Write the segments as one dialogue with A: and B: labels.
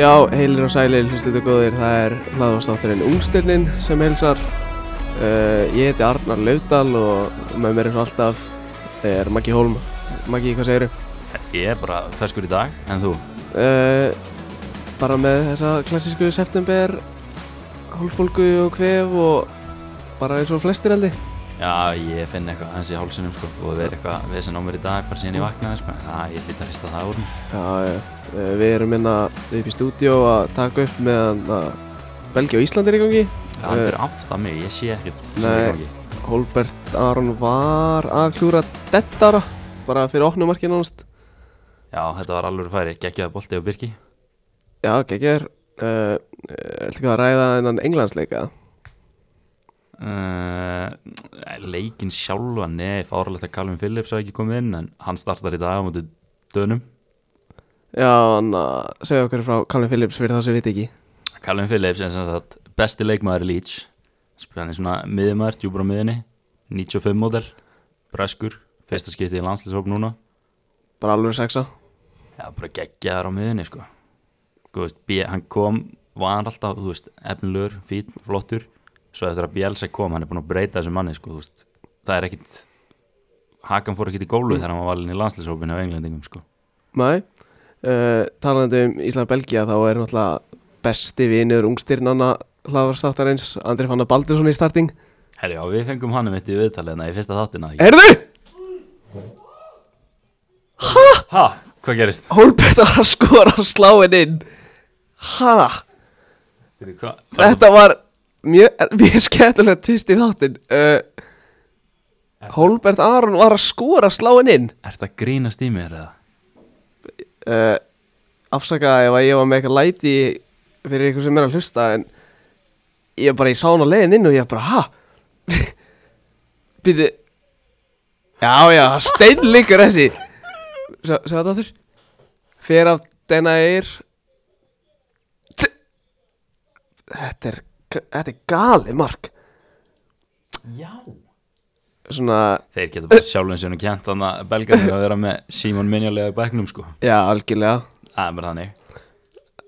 A: Já, heilir og sælir, hlustuðu góðir, það er hlaðvastátturinn Ungstirnin sem heilsar. Uh, ég heiti Arnar Laudal og með mér eins og alltaf er Maggi Hólm. Maggi, hvað segiru?
B: Ég er bara ferskur í dag, en þú?
A: Uh, bara með þessa klassísku september, hálfbólgu og kvef og bara eins og flestir eldi.
B: Já, ég finn eitthvað hans í hálsunum sko og það er eitthvað vesen á mér í dag, bara síðan ég vaknaði sko. Já, ég hlýtt að hrista það úr mér.
A: Já, já, uh, við erum hérna upp í stúdíó að taka upp meðan að Belgi og Ísland er í gangi.
B: Já, hann er aftan mig, ég sé ekkert sem
A: Nei.
B: er í gangi.
A: Hólbert Aron var að klúra dettara, bara fyrir opnumarkið nánast.
B: Já, þetta var alveg færi, geggjaði bolti og byrki.
A: Já, geggjör uh, Ætlum við að ræða innan englandsleika
B: Uh, leikin sjálfa, nei, fáralegt að Calvin Phillips hafa ekki komið inn, en hann startar í dag á móti dönum.
A: Já, hann að segja okkur frá Colin Phillips fyrir þá sem við viti ekki
B: Calvin Phillips er sem sagt besti leikmaður í Leeds Spil- hann er svona miðjumæður, djúbur á miðjunni 95 mótel, breskur fyrsta skipti í landslýshóp núna
A: Bara alveg sexa
B: Já, bara geggjaðar á miðjunni sko Þú veist, B, hann kom var hann alltaf, þú veist, efnilegur, fín, flottur svo eftir að Bielsa kom, hann er búin að breyta þessum manni sko, þú veist, það er ekkit Hakan fór ekkit í gólu þegar hann var valinn í landslýshópinu af englendingum sko
A: Nei uh, Talandi um Ísland-Belgia þá er náttúrulega besti vinur ungstirnanna hlaðarstáttarins Andri Fanna Baldursson í starting
B: Herri, já, við fengum hann um eitt í viðtaliðna í fyrsta þáttina ekki?
A: Erðu?
B: Ha, hvað gerist?
A: Hólbert var að skora sláin inn Ha?
B: Byrju, hvað-
A: Þetta var mjög, mjög skemmtilegt tvist í þáttinn uh, Hólbert Aron var að skora sláin inn
B: Er þetta grínast í mér eða?
A: uh, afsaka ef að ég var með eitthvað læti fyrir ykkur sem er að hlusta en ég bara, ég sá hann á leiðin inn og ég bara, ha? Býtu Já, já, steinleikur þessi Sjá sjá þetta þurr Fer af denna eir Þetta er Þetta er gali mark
B: Já
A: Svona,
B: Þeir geta bara sjálfum sérnum kjent þannig að belgarnir að vera með Simon Minjalega í bæknum sko
A: já, algjörlega
B: Það er bara þannig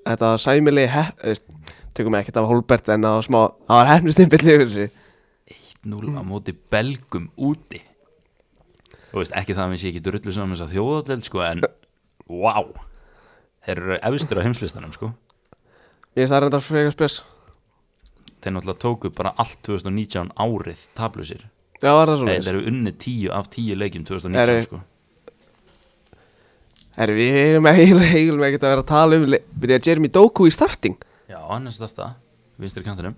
A: Þetta var sæmili hepp, þú veist, Tökum ekkert af Holbert en það var smá Það var hefnustimpill yfir þessi
B: 1-0
A: Mm.
B: á móti belgum úti Þú veist ekki það að við sé ekki drullu saman þess að þjóðateld sko en Wow Þeir eru efstir á heimslistanum sko
A: Ég veist það reyndar frekar spes
B: Þeir náttúrulega tóku bara allt 2019 árið tablusir
A: Já, var það svona
B: Þeir eru unni 10 af 10 leikjum 2019
A: Eru-
B: sko
A: Herri, við eigum eiginlega eiginlega ekkert að vera að tala um Byrja Jeremy Doku í starting
B: Já, hann er starta Vinstri kantinum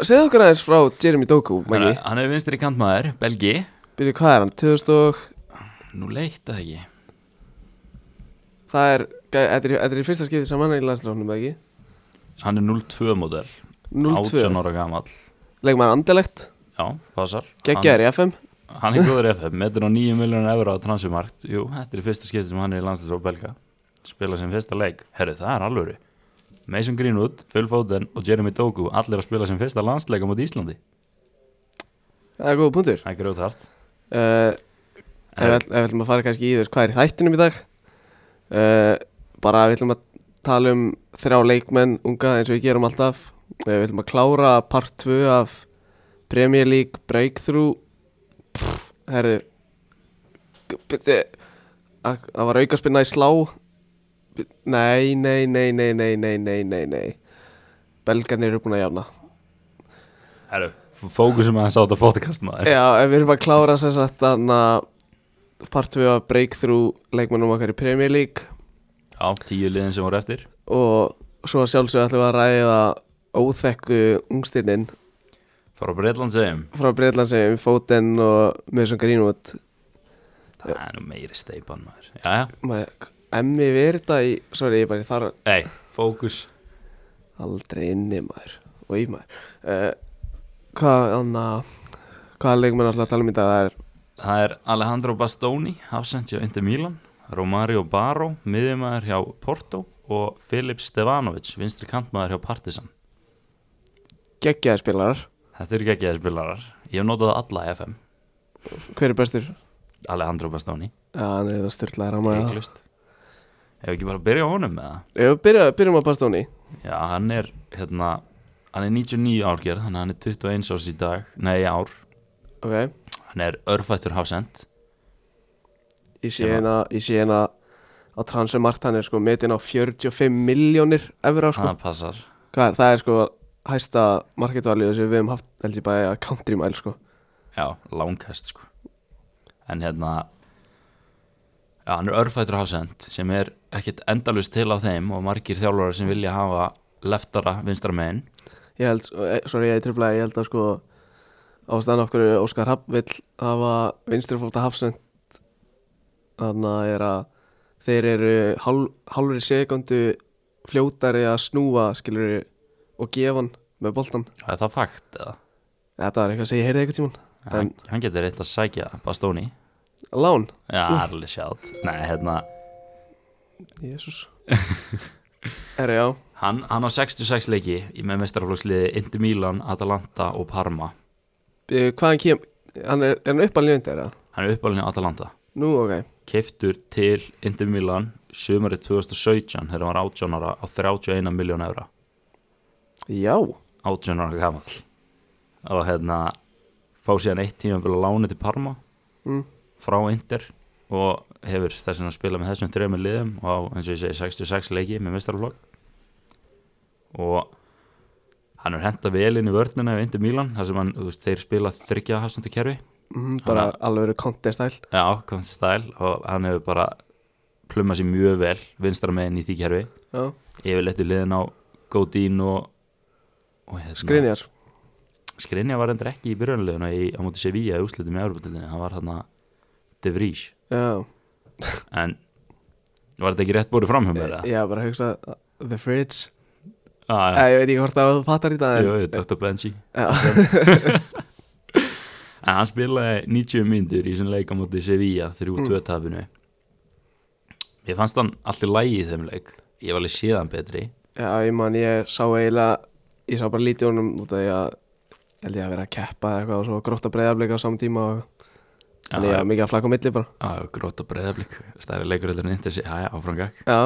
A: Segðu okkur aðeins frá Jeremy Doku,
B: Hann
A: Maggi
B: er- Hann er vinstri kantmaður, belgi
A: Byrja, hvað er hann? 2000 og...
B: Nú leitt það ekki
A: Það er, gæ- þetta er, í- þetta er í fyrsta skipti saman í landslóknum, ekki?
B: Hann er 0-2 model 18
A: 0-2
B: ára gamall
A: Legum hann andilegt
B: Já, passar
A: Geggjaður í FM
B: Hann, hann er góður í FM, metur á 9 miljonar euro á transfermarkt Jú, þetta er í fyrsta skipti sem hann er í landslæs og belga Spila sem fyrsta leik Herru, það er alvöru Mason Greenwood, Phil Foden og Jeremy Doku Allir að spila sem fyrsta landsleik á móti Íslandi
A: Það er góða punktur
B: Það er grjóðhart
A: uh, Ef
B: En-
A: við ætlum að fara kannski í þess hvað er í þættinum í dag uh, Bara við ætlum að tala um þrjá leikmenn unga eins og við gerum alltaf uh, Við ætlum að klára part 2 af Premier League Breakthrough Pff, Herðu G- byrju, að- Það var aukaspinna í slá Bi- Nei, nei, nei, nei, nei, nei, nei, nei, nei Belgarnir eru búin að jána
B: Herru, f- fókusum aðeins á þetta podcast maður
A: Já, en við erum að klára sem sagt þannig að part 2 af breakthrough leikmennum okkar í Premier League
B: Já, tíu liðin sem voru eftir
A: og svo að sjálfsög ætlum við að ræða óþekku ungstirnin
B: Fara á Breitland segjum
A: frá Breitlandsegjum, Foden og Mason Greenwood
B: Það er nú meiri steipan maður Jæja,
A: Maður- Emmi Verda í, sorry, ég bara ég þarf
B: ei, fókus
A: aldrei inni maður og í maður uh, Hvað, anna, hvaða leikmenn ætlum við að tala um í dag það er
B: Það er Alejandro Bastoni, hafsend hjá Inter Milan, Romario Baro, miðjumæður hjá Porto og Filip Stevanovic, vinstri kantmaður hjá Partizan.
A: geggjaði spilarar
B: Þetta eru geggjaði spilarar. Ég hef notað alla í FM,
A: Hver er bestur?
B: Alejandro Bastoni,
A: Já, hann er það styrlaðar að maður
B: heiklust. Ef ekki bara að byrja á honum með það
A: Ef við byrja, byrjum að Bastóni
B: Já, hann er hérna Hann er 99 árgerð, þannig að hann er 21 árs í dag Nei, í ár
A: Ok,
B: Hann er örfættur hafsend
A: ég sé
B: Já.
A: hérna Ég sé hérna að transfermarkt hann er sko metin á 45 miljónir evra sko
B: Það passar
A: Hvað er, það er sko hæsta marketvalið sem við hefum haft held ég bara að country mile sko
B: Já, langhest sko En hérna Já, hann er örfættur hafsend sem er ekkit endalust til á þeim og margir þjálfarar sem vilja hafa leftara vinstra megin
A: Ég held, eh, sorry ég tröflaði, ég held að sko ástæðan okkur Óskar Hafn vill hafa vinstri fólta Hafsend þannig að er að þeir eru hálf, hálfri sekundu fljótari að snúa skilur og gefa hann með boltan
B: Það er það fakt eða
A: Þetta var eitthvað sem ég heyrði eitthvað tíman
B: hann, hann getur reitt að sækja Bastóni
A: Lán,
B: Já, það er alveg sjátt Nei, hérna,
A: jésús Herra já,
B: hann, hann á 66 leiki í með mestaraflóksliði Indi Milan, Atalanta og Parma
A: Eh, hvaðan kem hann er, er hann uppalinn í undir það?
B: Hann er uppalinn í Atalanta
A: Nú ok,
B: Keiftur til Indi Milan sömarið 2017 þegar hann var 18 ára á 31 miljón eura
A: já
B: 18 ára gamall og hérna fá síðan eitt tíma að lána til Parma
A: mm.
B: frá Inter og hefur þess vegna spilað með þessum trefum liðum og á, eins og ég segi 66 leiki með mestarflokk og hann er henda vel inn í vörnina á Inter Milan þar sem hann, þú veist, þeir spila þryggja hafstundu kerfi
A: Mm, bara alveg eru kontestæl
B: eða ákvæmst stæl og hann hefur bara plumað sér mjög vel vinstra meginn í því kerfi
A: já.
B: yfirleitt í liðin á Godín og, og hérna-
A: Skrinjar
B: Skrinja var endur ekki í byrjunleguna í, á móti Sevilla í úslitum í Európa-dildinni, hann var hérna De Vries,
A: Já,
B: en var þetta ekki rétt búið fram hjá mér eða?
A: ég hef bara hugsað uh, The Fridge eh,
B: Ah,
A: Ég, ég veit ekki hvort að þú fattar í það
B: Jú,
A: en,
B: jú, Dr. Benji
A: já,
B: En hann spilaði 90 myndur í þessum leik á móti Sevilla
A: Mm.
B: 3-2 tapinu Mér fannst hann allir lægi í þeim leik Ég var alveg séðan betri
A: já, ég man, ég sá eiginlega Ég sá bara lítið honum út af því að ég held ég að vera að keppa eða eitthvað og svo grótt að breyðarbleika á saman tíma og
B: Já,
A: en ég var mikið að flakka á milli bara
B: ah, Gróta breyðablík, stærri leikur þetta er nýttir sig, já, já, áfram gakk
A: Já,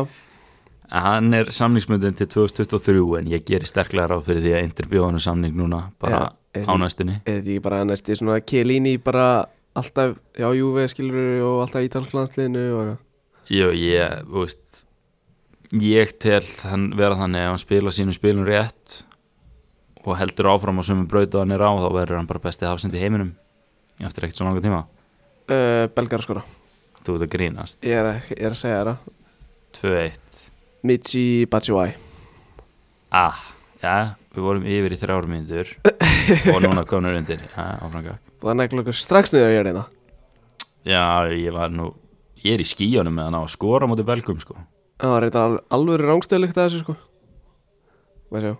B: En Hann er samningsmyndin til 2023 en ég gerir sterklega ráð fyrir því að Inter bjóða hann samning núna bara
A: Já, er
B: á
A: því-
B: næstunni
A: eða þetta ekki bara næst í svona Kelini bara alltaf Já, Júve skilur og alltaf ítalklansliðinu og eitthvað
B: Jú, ég, þú veist ég tel hann vera þannig ef hann spila sínum spilum rétt og heldur áfram á sömu braut og hann er á þá verður hann bara bestið hafsend í heiminum eftir ekkert svo langa tíma
A: uh, Belgar að skora
B: þú ert að grínast,
A: Ég er, að- ég er að segja þér það
B: 2-1
A: Michi Batshuayi
B: ah, já, við vorum yfir í þrjár mínútur og núna komnur undir já, áfram gakk.
A: Það negla okkur strax niður að gjöra hérna
B: já, ég var nú ég er í skíunum með hann á að skora á móti belgum sko
A: Það var eitthvað alveg rángstöðlegt að þessu sko Hvað sjá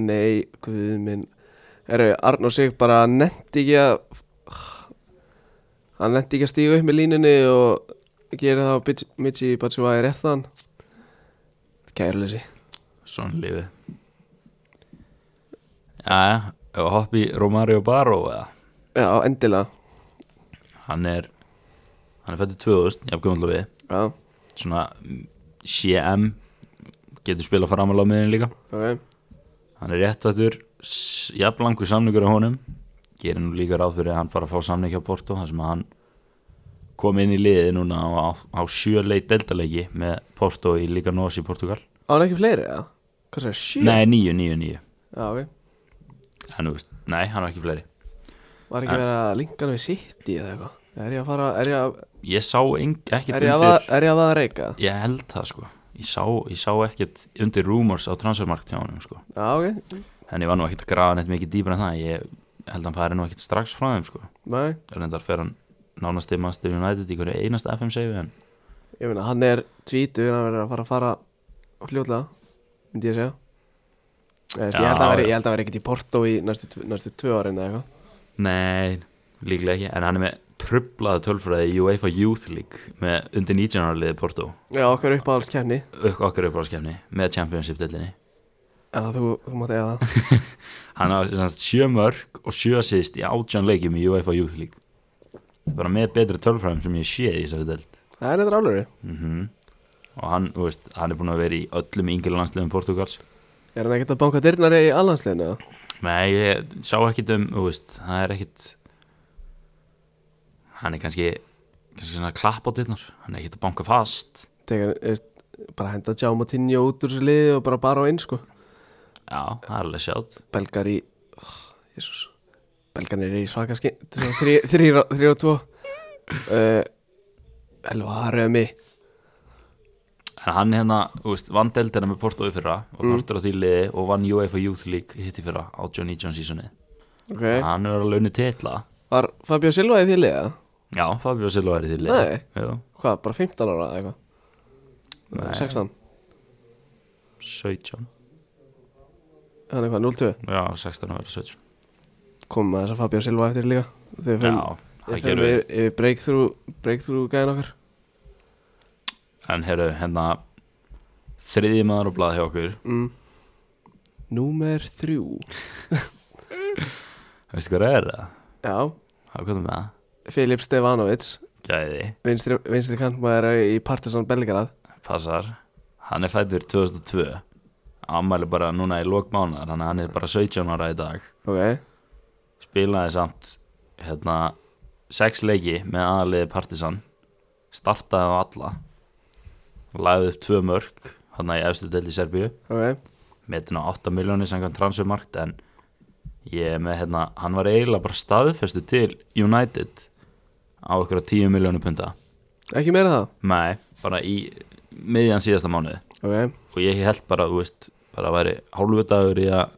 A: Nei, guð minn Eru, Arn og Sig bara netti ekki að Hann netti ekki að stíga upp með línunni og gera þá Bitch- Michi Batshuayi rétt þann Kæruleysi
B: svona lífi já, já, og hoppi Romario Baró eða
A: Já, endilega
B: hann er hann er fættur 2000, jafnkvæmlega við
A: Já,
B: svona mm, CM getur spilað framalega á miðin líka
A: ok
B: hann er rétt fættur jafnlangur samningur á honum gerir nú líka ráð fyrir að hann fara að fá samning hjá Porto þar sem að hann kom inn í liði núna á, á, á sjöleik deltaleiki með Porto í Liga Nós í Portugal
A: Á hann ekki fleiri eða? Hvað sér, sjö?
B: nei, nýju, nýju, nýju
A: Já, ok
B: en, þú veist, nei, hann er ekki fleiri
A: Var ekki verið að linka hann við City eða eitthvað? Er ég að fara, er ég að,
B: ég sá ekki
A: er ég að, vaða- er ég að vaða reyka?
B: Ég held það sko Ég sá, ég sá ekkert undir rumors á transfermarkt hjá honum sko
A: Já, ok
B: En ég var nú ekkert að grafa neitt mikið dýpar en það Ég held að hann færi nú ekkert strax frá þeim sko
A: Nei
B: Reyndar fer hann nánast í Master United í hverju einasta FM save En
A: Ég meina, hann er tvítur, hann verður að fara að fara fljóðlega, myndi ég segja. Ég, veist, ég, held að
B: Já,
A: veri,
B: já.
A: ég held að vera ekkert í Porto í næstu, tv- næstu tvö árin eða eitthvað.
B: nei, líklega ekki En hann er með trublaða tölfræði í UEFA Youth League Með undir 19 ára liði Porto
A: Já, okkur upp á alls kemni.
B: Ök okkar uppáðskefni með Championship delinni
A: Eða þú, þú mátt eiga það.
B: Hann hafði sem sagt sjö mörg og sjö assist í átján leikjum í UEFA Youth League Bara með betri tölfræðum sem ég sé í þessari delt
A: Það er eitthvað álurri.
B: mm og hann, þú veist, hann er búin að vera í öllum yngri landsliðum Portugals
A: Er hann ekkert að banka dyrnar í allansliðinu? eða?
B: Nei, ég sá ekkit um, þú veist, það er ekkit hann er kannski kannski svona klapp á dyrnar hann er ekkit að banka fast
A: Tekur, veist, bara henda Jaume Tinho út úr þessu liði og bara bara á einn sko
B: Já, það er alveg sjátt
A: Belgar í oh, Jesus Belgarnir eru í svaka skinn Þrýr og þrýr og tvo uh, Elvarömi
B: En hann hérna, þú veist, vann deildina með Porto í fyrra og
A: Mm.
B: partur á því liði og vann UEFA Youth League hitt í fyrra á Johnny John seasoni
A: okay.
B: Hann er alveg unni titla
A: Var Fabio Silva í því liða?
B: Já, Fabio Silva er í því liði
A: Nei.
B: Jú,
A: Hvað, bara 15 ára eða
B: Nei.
A: eitthvað? 16
B: 17
A: Hann er hvað, 0-2
B: Já, 16 og verið 17
A: Komum með þess að Fabio Silva eftir líka Þegar fyrir
B: Já, það
A: Ég
B: gerum
A: fyrir
B: við
A: við yfir breakthrough, breakthrough gæðin okkar
B: En heyrðu, hérna Þriði maður á blað hjá okkur
A: mm. Númer þrjú
B: Veistu hvað það er það?
A: Já,
B: Hvað komum við það?
A: Filip Stefanovic
B: Gæði,
A: Vinstri, vinstri kantmaður í Partisan Belgrad
B: passar Hann er fættur 2002 Ammæli bara núna í lokmánar Þannig að hann er bara 17 ára í dag
A: Ok,
B: Spilaði samt Hérna Sex leiki með aðaliði Partisan Startaði á alla Lagði upp tvö mörg Þannig að ég efstu deild í Serbíu
A: ok
B: metin á 8 miljónir samkvæmt transfermarkt en ég er með hérna, hann var eiginlega bara staðfestu til United á okkur 10 miljónir punta
A: Ekki meira það?
B: nei, bara í miðjan síðasta mánuði
A: Ok,
B: og ég held bara, þú veist, bara væri hálfu dagur í að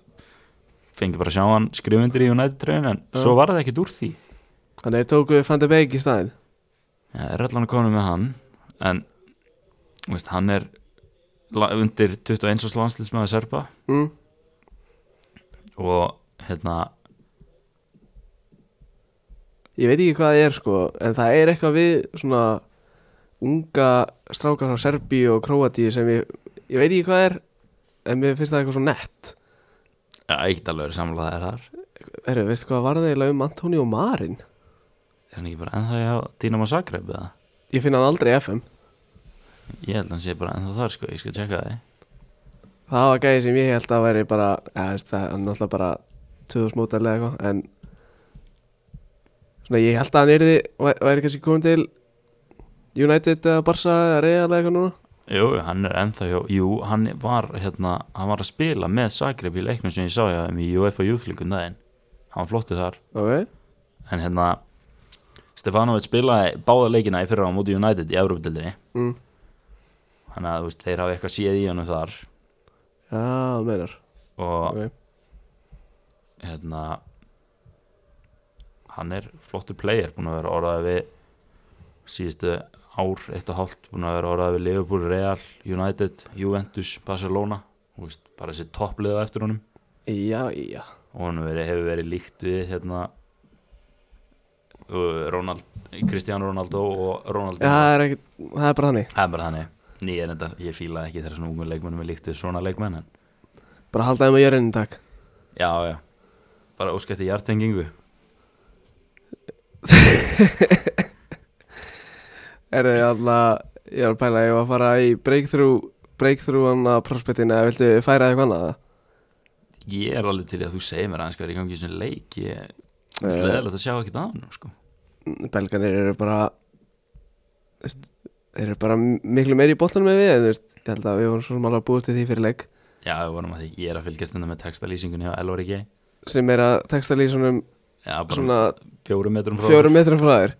B: fengi bara að sjá hann skrifundir í United treyjun en svo var það ekkert úr því
A: þannig að þeir tóku Van de Beek í staðinn
B: ja, er allan að konu með hann en, þú veist, hann er la- undir 21 árs landslismæði Serba
A: mm.
B: og hérna,
A: Ég veit ekki hvað það er sko En það er eitthvað við svona Unga strákar frá Serbíu og Króatíu Sem ég, ég veit ekki hvað það er En mér finnst það eitthvað svo nett
B: ja, eitt alveg er samlega það er þar
A: Herru, veistu hvað var það eiginlega um Antoni og Marin?
B: Er hann ekki bara ennþá hjá Dynamo Zagreb eða?
A: Ég finn hann aldrei í FM
B: Ég held að hann sé bara ennþá þar sko, ég skal tjekka það
A: Það var gæði sem ég held að væri bara ja, veist, Það er náttúrulega bara 2000 mótal eða eitthvað En Svona ég held að hann yrði væ- Væri kannski komin til United eða Barca eða Real eða eitthvað núna
B: Jú, hann er ennþá hjá, jú, hann var hérna, hann var að spila með Zagreb í leiknum sem ég sá hjá þeim í UEFA Youth League um daginn Hann flottu þar,
A: Ok,
B: en hérna Stefanovic spilaði báða leikina í fyrra á móti United í Európa-dildinni
A: mm.
B: Þannig að þú veist, þeir hafa eitthvað séð í honum þar
A: Já, þú meinar
B: og
A: okay.
B: hérna hann er flottur player búin að vera orðað við síðustu ár, eitt og hálft búin að vera orðað við Liverpool, Real, United Juventus, Barcelona Þú veist, bara þessi toppliða eftir honum
A: Já, já
B: og hann veri, hefur verið líkt við hérna uh, Ronald, Cristiano Ronaldo og Ronaldo
A: Það er, ekki, það er bara þannig
B: það er bara þannig ég, er þetta, ég fíla ekki þegar svona ungu leikmennum er líkt við svona leikmenn en
A: Bara halda þeim að jörðinu takk
B: já, já, bara óskætti hjartengingu
A: Er þið alltaf, ég er að pæla Ég var að fara í breakthrough Breakthrough hann að prospektinu Eða viltu færa eitthvað annað eða?
B: Ég er alveg til í að þú segir mér aðeins hvað er í gangi í þessum leik Ég er
A: Eh.
B: sleðilegt að sjá ekkert á hann sko.
A: Belgarnir eru bara veist, Þeir eru bara miklu meiri í boltanum með við en, þú veist, Ég held að við vorum svona alveg að búast við því fyrir legg
B: Já, við vorum að því Ég er að fylgjast þetta með textalýsingunni á Elvar G Já,
A: Sem er að texta lýsunum
B: bara
A: Svona
B: fjórum metrum frá
A: fjórum metrum frá þér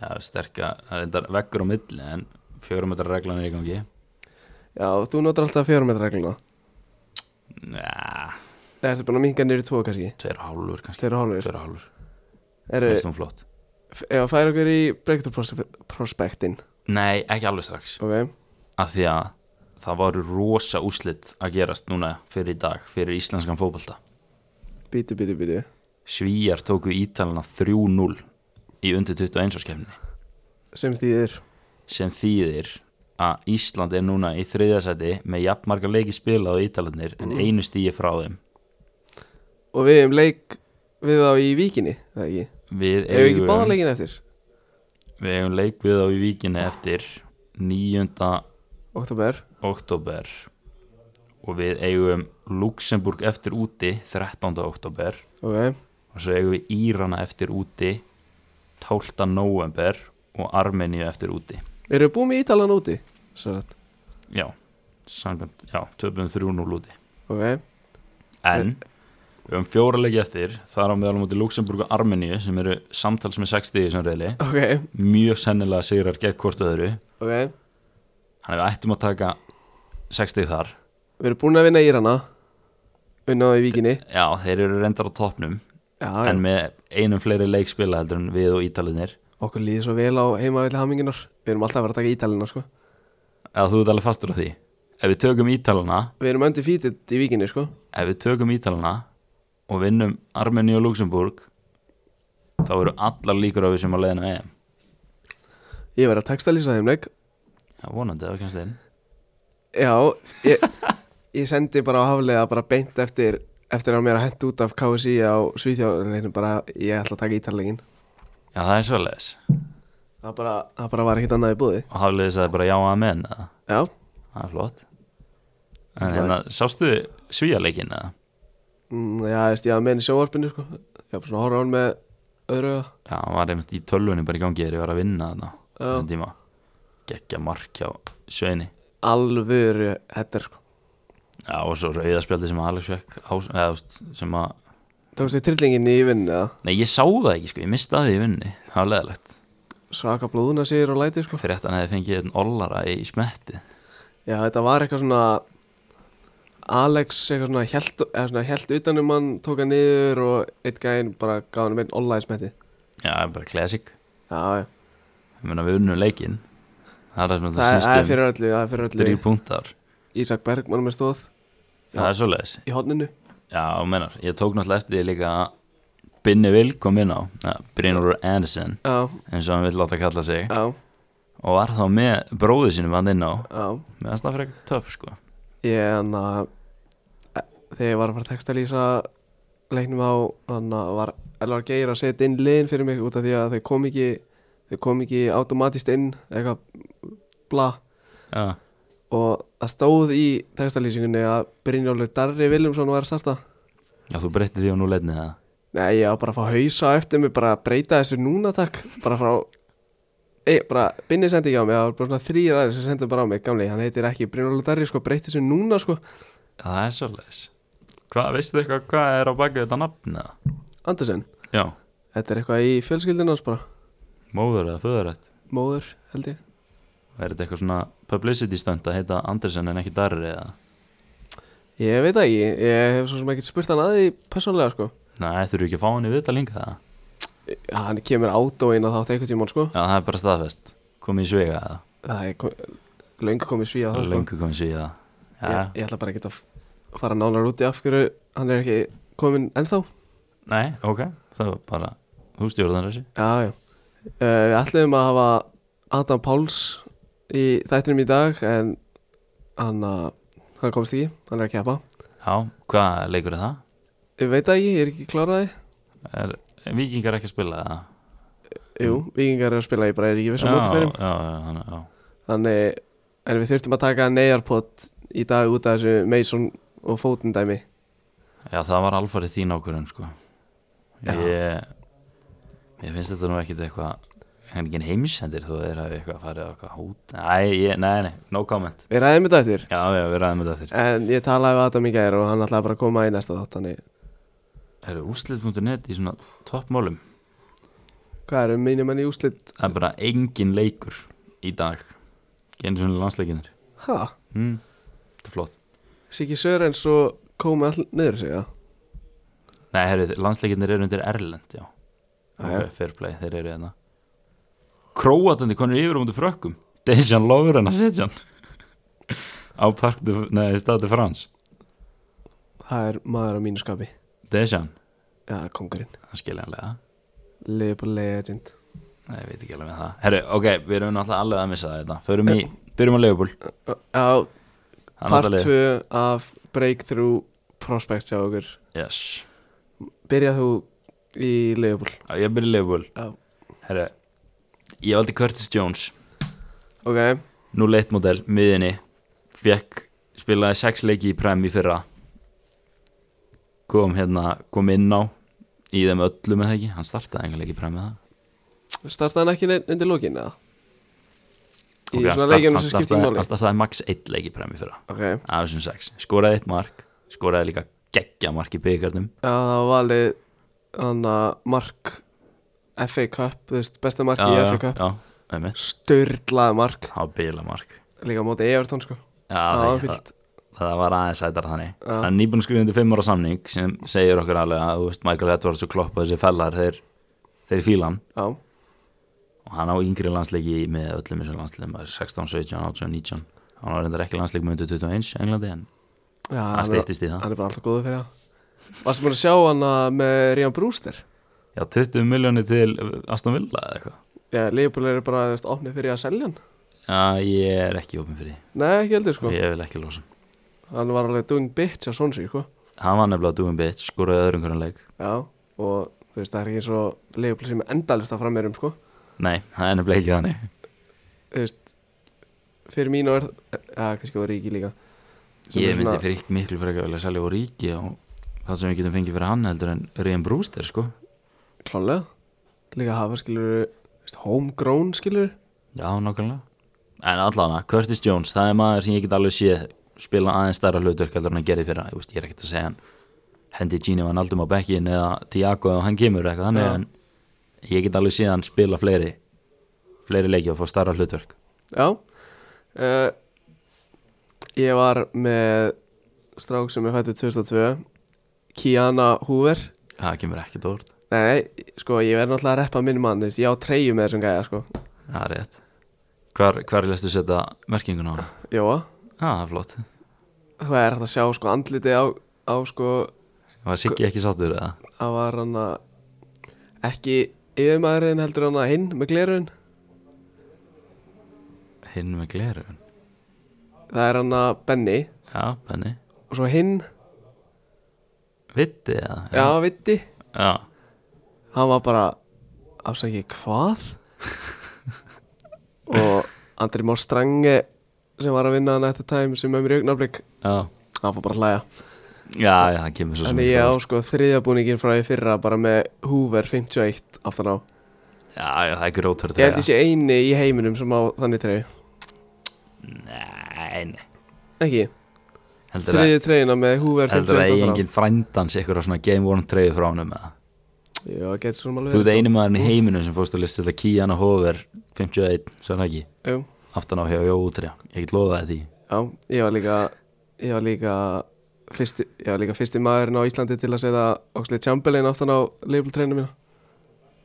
B: Já, sterka, það er þetta veggur á milli En fjórum metrar reglan er í gangi
A: Já, þú notar alltaf fjórum metra regluna
B: Já,
A: Það ertu búin að minga niður í tvo kannski
B: tveir og hálfur kannski
A: Tveir og hálfur
B: Tveir og hálfur,
A: Eru,
B: veist hún flott
A: ef að færa okkur í breakthrough prospe- prospektin
B: Nei, ekki alveg strax
A: Ok,
B: Af því að það voru rosa úslit að gerast núna fyrir í dag Fyrir íslenskan fótbolta
A: bítu, bítu, bítu
B: Svíjar tóku ítalina 3-0 í undir 21 áskefni
A: sem þýðir
B: sem þýðir að Ísland er núna í þriðasæti með jafnmarga leiki spilað á Ítalarnir en
A: Mm.
B: einu stíi frá þeim
A: og við hefum leik við þá í víkinni það ekki,
B: við
A: hefur við ekki
B: eigum,
A: báðan leikin eftir
B: við eigum leik við á í víkinni eftir 9.
A: oktober
B: oktober og við eigum Luxemburg eftir úti 13. oktober
A: Ok,
B: og svo eigum við Írana eftir úti 12. november og Armeníu eftir úti
A: eru við búin með Ítalan úti? Sannat.
B: já, samkvæmt, já, töpum 3-0 úti
A: Ok,
B: en við höfum fjóra leiki eftir þar á meðal á móti Luxemburg og Armeníu sem eru samtals með 60 sem reyli
A: ok,
B: mjög sennilega sigrar gegn hvort öðru
A: ok
B: hann við ættum að taka 60 þar
A: Við erum búin að vinna Írana Unna á í vikinni
B: já, þeir eru reyndar á toppnum
A: Já,
B: en með einum fleiri leikspila heldur en við og Ítalinir
A: okkur líður svo vel á heimavilli haminginar Við erum alltaf að vera að taka Ítalina sko
B: eða þú ert alveg fastur á því ef við tökum Ítalana
A: Við erum undefeated í vikinni sko
B: ef við tökum Ítalana og vinnum Armeni og Luxemburg þá eru allar líkur á við sem að leiðina EM
A: Ég verið að textalýsa þeim leik
B: já, vonandi, það var kannski einn
A: Já, ég, ég sendi bara á haflega bara beint eftir eftir að mér að hent út af KSI á Svíþjóðanleginu bara ég ætla að taka Ítalegin
B: já, það er svolítið
A: það bara, það bara var ekkert annað í búði
B: og hafliði sagði bara já að menn eða?
A: Já,
B: það er flott en hérna, sástu svíjaleikin eða?
A: mm, já, veist, ég að menn í sjóvarpinu sko. ég var svona að horfa á hann með öðru auga.
B: já, hann var einmitt í tölvunni bara í gangi þegar ég var að vinna þarna
A: Já.
B: þennan tíma geggja mark hjá Sveini
A: alvöru þetta sko
B: Já, og svo rauðaspjaldi sem Alex fekk á, eða, þú veist, sem að,
A: Tókst þið trillingin í vinnu eða
B: nei ég sá það ekki sko, ég mistaði í vinni, það var leðalegt
A: svaka blóðuna sér og læti sko
B: fyrir þetta hann hefði fengið einn ollara í smetti
A: Já, þetta var eitthvað svona Alex eitthvað svona held, eða svona held utanum hann tók hann niður og eitt gæðin bara gaf hann með online smetti
B: Já, það er bara classic,
A: Já, já.
B: ég meina við unnum leikinn það er það sem
A: það er-
B: það
A: það er
B: sýstum
A: fyrir öllu, það er fyrir öllu
B: þrjú punktar,
A: Ísak Bergmann með stóð Já.
B: það er svoleiðis
A: í hodninu
B: Já, og menar, ég tók náttúrulega eftir því líka að Binni Vil kom inn á Brynur Anderson,
A: Já,
B: eins og hann vil láta kalla sig
A: já,
B: og var þá með bróðu sínum hann inn á
A: já
B: með það fyrir eitthvað töff sko
A: Ég, hann að þegar ég var að fara að textalýsa leiknum á, hann að var Elvar Geir að setja inn liðin fyrir mig út af því að þau kom ekki þau kom ekki automatist inn eitthvað bla
B: Já,
A: og það stóð í textalýsingunni að Brynjólfur Darri Viljumsson var að starta
B: Já þú breytti því og nú leitni það
A: Nei, ég á bara að fá hausa á eftir mig bara að breyta þessu núna takk bara frá Ei, bara, Binni sendi ekki á mig, það var bara svona þrýr aðeins sem sendi bara á mig, gamli, hann heitir ekki Brynjólu Darri, sko, breyti þessu núna, sko
B: Já, Það er svolítið Hvað, veistu eitthvað hvað er á baki þetta nafn eða?
A: Andersen,
B: Já,
A: þetta er eitthvað í fjölskyldinu hans bara,
B: móður eða föðurætt
A: móður, held ég
B: Er þetta eitthvað svona publicity stunt að heita Andersen en ekki Darri eða?
A: Ég veit það ekki, ég hef svo sem ekki spurt hann að því persónlega, sko
B: Nei, þurfum ekki að fá hann í viðtal linga það
A: ja, Hann kemur átóin að þátt eitthvað tímann, sko
B: Já, það er bara staðfest Komið í svega eða?
A: Það er kom, löngu komið svíja á
B: Það
A: það,
B: er
A: sko
B: löngu komið í svíða Já,
A: ég, ég ætla bara ekki að f- fara nánar út í af hverju hann er ekki kominn ennþá
B: nei, ok Það var bara, þú stjórðan þessi
A: Já, já. Uh, við ætlum að hafa Adam Páls í þættinum í dag en hann, uh, hann komst ekki, hann er að keppa.
B: Já, hvað leikur er það?
A: Ég veit það ekki, ég er ekki kláraði.
B: Er, er vikingar ekki að spila það?
A: Jú, vikingar eru að spila, ég bara er ekki viss um á móti hverjum.
B: já, já, hann- já,
A: Þannig, en við þurftum að taka neyjarpott í dag út af þessu Mason og fótendæmi.
B: Já, það var alfarið þín ákvörðun sko
A: Já.
B: ég, ég finnst þetta nú ekkit eitthvað hann er ekki heimsendir þú er að eitthvað farið á eitthvað hót Æ, ég, nei, nei, no comment
A: Við ræðum þetta eftir,
B: Já, já, við ræðum þetta þér
A: en ég talaði við Adam í gær og hann ætlaði bara að koma í næsta þátt. Þannig,
B: Það eru úslit.net í svona toppmálum
A: hvað eru mínum enn í úslit?
B: Það er bara engin leikur í dag Genið svona landsleikinir
A: Hæ?
B: mm. Þetta er flott
A: Siggi Sörens og komið all niður sig, já?
B: Nei, herri, landsleikinir eru undir Erlend, já
A: Ah, Já, já.
B: Ok, Fair play, þeir eru hérna Króatandi konur yfir á mútu frökkum Dejan Lovren að setja hann á Park de, nei, Stade de France
A: Það er maður á mínu skapi.
B: Dejan,
A: Já, kongurinn
B: það er skiljanlega
A: Liverpool legend
B: Nei, ég veit ekki alveg með það Herru, ok, við erum náttúrulega alveg að missa það þetta Förum í, byrjum á Leopold
A: Já, part 2 af Breakthrough Prospects hjá okkur
B: Yes,
A: Byrjað þú í Liverpool
B: Já, ég byrja Leopold
A: Já.
B: Herru, ég valdi Curtis Jones
A: Ok,
B: nú leitt mótel, miðinni fekk, spilaði sex leiki í prem í fyrra kom hérna, kom inn á í þeim öllum eða ekki, hann startaði engan leik í prem með það
A: Startaði hann ekki neinn undir lókin eða? Í
B: Ok, hann
A: svona
B: start-
A: leikjunum
B: hann
A: sem skiptir
B: startaði-
A: máli
B: hann startaði max 1 leik í prem í fyrra
A: Ok, já
B: af þessum 6, skoraði eitt mark skoraði líka geggja mark í byggarnum
A: það var valið hann að mark FA Cup, þú veist, besta mark í FA Cup
B: já, einmitt
A: Störlaði mark,
B: það var bíla mark já,
A: líka á móti Evertón sko Það
B: það,
A: var fyllt
B: það var aðeins sætar þannig hann er nýbúin að skrifa undir 5 ára samning sem segir okkur alveg að þú veist, Michael Edwards og Klopp og þessi fellar þeir, þeir fílan
A: Já,
B: og hann á yngri landsleiki með öllum þessum landsleikum það er 16, 17, 18, 19 hann var reyndar ekki landsleik með undir 21 í Englandi en
A: já
B: það
A: hann, er,
B: stýttist í það
A: hann er bara alltaf góður fyrir það Varstu mér að sjá hann að með Ríðan Brewster?
B: já, 20 miljónir til Aston Villa eða eitthvað
A: Já, Leifbúl eru bara, þú veist, opnið fyrir að selja hann
B: já, ég er ekki opin fyrir því
A: Nei, ekki heldur sko
B: ég vil ekki losa hann.
A: Hann var alveg doing bitch á Sonsi sko
B: hann var nefnilega doing bitch, skoraði öðrum hverjum leik
A: Já, og þú veist, það er ekki eins og Leifbúl sem er endalist að frammerum sko
B: nei, það er nefnilega ekki þannig
A: Þú veist, fyrir mínu er, já, kannski var Ríki líka Sem er
B: ég myndi
A: svona-
B: fyrir ykkur miklu fyrir ekki vilja selja úr ríki og það sem við getum fengið fyrir hann heldur en Rian Brewster sko
A: Klálega Líka hafa skilur Homegrown skilur
B: já, nákvæmlega en allavega, Curtis Jones, það er maður sem ég get alveg séð spila aðeins stærra hlutverk heldur en hann gerði fyrir hann, ég, veist, ég er ekkert að segja hann hendi Gini van Aldum á bekkin eða Tiago ef hann kemur eitthvað þannig
A: Já.
B: en ég get alveg séð hann spila fleiri fleiri leiki og fá stærra hlutverk
A: Já uh, Ég var með strák sem er fættið 2002 Kiana Hoover
B: það kemur ekki dórt,
A: Nei, sko, ég verð náttúrulega að reppa minn mann þú veist, Ég á treyju með þessum gæja, sko
B: það er rétt hvar, hvar lestu setja merkingun á hann?
A: Jóa,
B: Já, það er flott.
A: þú er hægt að sjá, sko, andliti á, á sko
B: Var Siggi ekki sattur eða?
A: Það var hann að Ekki yfirmaðurinn heldur hann að hinn með glerun
B: Hinn með glerun.
A: Það er hann að Benny
B: Já, Benni.
A: Og svo hinn,
B: Vitti eða?
A: já, Vitti
B: Já.
A: hann var bara afsækið hvað og Andri Már Strange sem var að vinna hann eftir time sem er mér í augnablik
B: Já.
A: hann var bara að hlæja
B: Já, já, það kemur svo sem
A: þannig ég á
B: á.
A: sko þriðabúningin frá í fyrra bara með Hoover 51 aftan á
B: Já, já, það er grótverð
A: ég held ég sé eini í heiminum sem á þannig treyju
B: Nei, nei.
A: ekki,
B: Heldur að,
A: þriði treyjuna með Hoover
B: heldur að
A: 51
B: ég
A: aftan á
B: enginn frændans ykkur á svona Game Worn 3 frá honum eða?
A: já, getur svona
B: Þú
A: alveg
B: ert einu maðurinn í heiminum sem fórst að lista þetta Kíana Hover 51, svo er það ekki.
A: verið. Jú,
B: Aftan á hjá Jóútrja. Ég get lofaði því.
A: já, ég var líka ég var líka fyrsti, ég var líka fyrsti maðurinn á Íslandi til að setja Oxley Chamberlain aftan á label treyjuna mína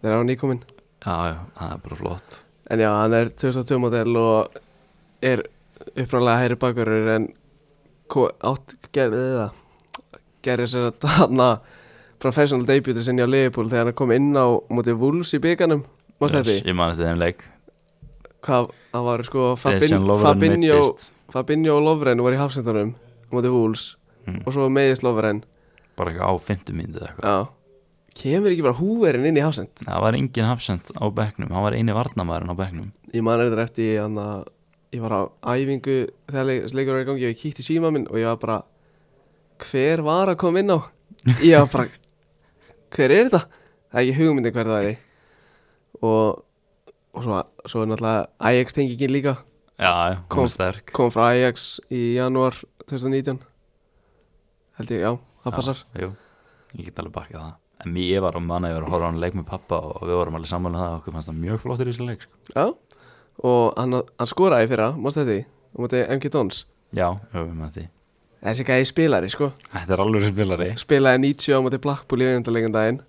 A: þegar hann var nýkominn
B: Já, já, það er bara flott.
A: En já, hann er 2002 modell og er uppræðlega hæri bakverður en ko- átt gerði það gerði sér að þarna professional debutu sinni á Liverpool þegar hann kom inn á mótið Wolves í bygganum Mást
B: Yes,
A: þetta?
B: Ég man þetta þeim leik.
A: Hvað, það var sko
B: Dejan
A: Fabin,
B: Lovren
A: Fabinho,
B: meiddist.
A: Fabinho og Lovren voru í hafsendunum mótið Wolves og svo meðist Lovren
B: Mm, Bara eitthvað á 50 mínútu eða eitthvað.
A: Já Kemur ekki bara húverinn inn í hafsend?
B: Það var engin hafsend á bekknum, hann var eini varnamæðurinn á bekknum
A: Ég man þetta eftir ég, hann að ég var á æfingu þegar leik- leikur var í gangi og ég kíkti í síma minn og ég var bara hver var að koma inn á? Ég var bara hver er þetta? Það er ekki hugmyndi hver það er í og, og svo, svo er náttúrulega Ajax tengingin líka
B: Já, já,
A: Kom.
B: hún er sterk
A: kom frá Ajax í janúar 2019 held ég, já, það passar
B: já, jú, Ég get alveg bakkað það En mér var á manna, ég var að horfa á hann leik með pappa og við vorum alveg samanlega það og okkur fannst það mjög flottur í þessu leik sko.
A: Já, og hann, hann skoraði í fyrra, mást þetta því á móti MK Dons
B: Já, jú, við með því
A: Þessi gæði spilari, sko
B: Þetta er alveg spilari
A: Spilaði 90 á móti Blackpool í auðvendarleikum daginn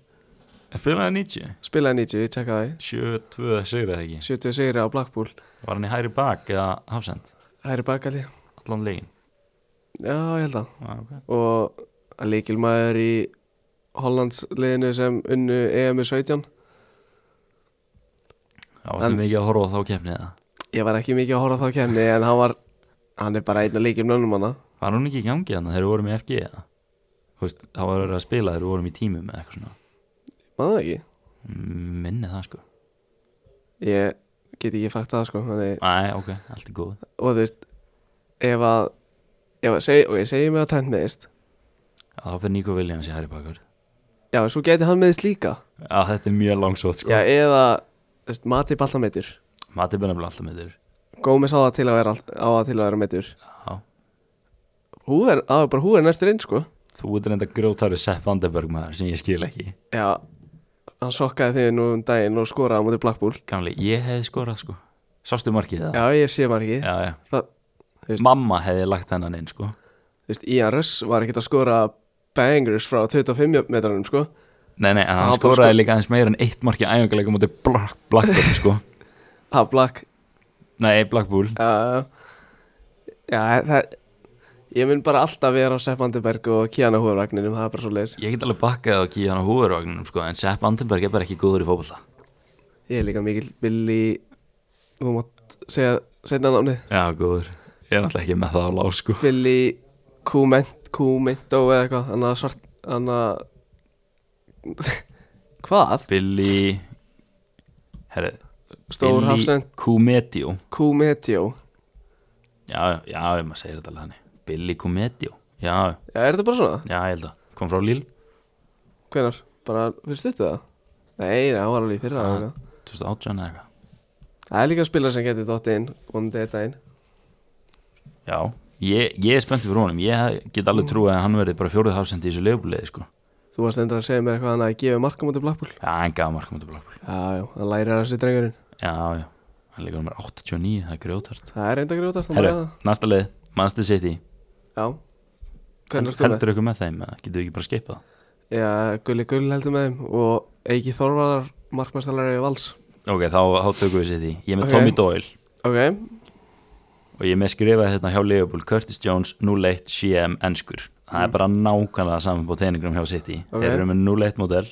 B: Spilaði 90,
A: spilaði 90, ég tjekkaði
B: 7-2 sigraði ekki
A: 70 sigri á Blackpool
B: Var hann í hæri bak eða hafsend
A: hæri bakaldi,
B: Allan leikin
A: já ég held að
B: ah, okay.
A: og að leikilmaður í Hollands liðinu sem unnu EM 17
B: Já, varstu
A: En-
B: mikið að horfa á þá kefnið það
A: ég var ekki mikið að horfa á þá kenni en hann var hann er bara einn af leikilmönnum hana
B: Var hún ekki í gangi hann þegar við vorum í FG eða? Þú veist, þá var það að spila þegar við vorum í tímum eða eitthvað svona Mm,
A: maður það ekki
B: Minni það sko
A: ég get ég ekki fakt að sko þannig,
B: Æ, ok, allt er góð
A: og þú veist ef að, ef að seg, ok, segjum við að trend meðist
B: Já, Þá fyrir Nico Williams í Harry Potter
A: já, en svo geti hann meðist líka
B: Já, þetta er mjög langsótt sko
A: já, eða, þú veist, Mati alltaf meitur
B: Mati bennum alltaf með þér
A: Gómez á það til að vera, allt- á það til að vera meitur
B: Já,
A: hú er, á, bara hú er næstur inn sko
B: þú ert reynda grjótarri Sepp Vandenberg maður sem ég skil ekki
A: já, hann sokkaði þig nú um daginn og skoraði á móti Blackpool
B: Gamli, ég hefði skorað sko Sástu markið það?
A: já, ég sé maður ekki
B: já, já.
A: það, Veist-
B: Mamma hefði lagt hennan inn sko
A: þú veist, Ian Russ var ekkert að skora bangers frá 25 metranum sko
B: Nei, nei, en hann
A: Já, bara
B: skoraði
A: sko-
B: líka aðeins meira en eitt markið æfingarleika mútið Black, Blackburn sko
A: ha, Black
B: Nei, Blackpool
A: Já, já það, ég mun bara alltaf vera á Sepp Vandenberg og Kiana Hóðurvagninum, það er bara svo leiðis.
B: Ég get alveg bakkað á Kíðan á húðurvagninum sko En Sepp Vandenberg er bara ekki góður í fótbolta
A: Ég er líka mikill Billy, þú mátt segja setna námið,
B: Já, góður Ég er náttúrulega ekki með það á lág sko
A: Billy Kument, Kumento eða eitthvað, hann að svart, hann að, hvað?
B: Billy Herri
A: Stór
B: Billy
A: hafsend,
B: Kumetio
A: Kumetjó.
B: Já, já, já, maður segir þetta alveg hann Billy Kumetio Já,
A: Já, er þetta bara svona?
B: já, ég held að Kom frá Líl
A: Hvenar? Bara fyrir stuttu það? Nei, nei, hann var alveg í fyrra.
B: Já.
A: eða eitthvað.
B: 2018 eða eitthvað
A: Það er líka að spila sem getur dottið inn, vonandi þetta inn.
B: Já Ég, ég er spenntið fyrir honum, ég get alveg trúið að hann verði bara fjórið hafsendi í þessu leifbúliði sko.
A: Þú varst endur að segja mér eitthvað hann að gefa marka mútið Blackpool.
B: Já, hann gaf markum út af Blackpool
A: Já, já, hann lærir að þessi drengurinn
B: Já, já, hann leikur nummer 89, það er grjótart
A: Það er reynda grjótart, hann
B: Herru,
A: bara það
B: næsta leið, Manchester City
A: Já, hvernig erstu með?
B: Heldur ykkur með þeim, eða getur við ekki bara skipað
A: Já, Gulli Gull heldur með þeim og Eiki Þorvarðar, markmæstalari Vals
B: Ok, þá, þá tökum við City Ég er með
A: Ok.
B: Tommy Doyle
A: Ok,
B: og ég er með skrifað hérna hjá Liverpool Curtis Jones, 0-1, CM, enskur Það er bara nákvæmlega saman på teiningrum hjá City
A: Ok.
B: Þeir eru með 0-1 modell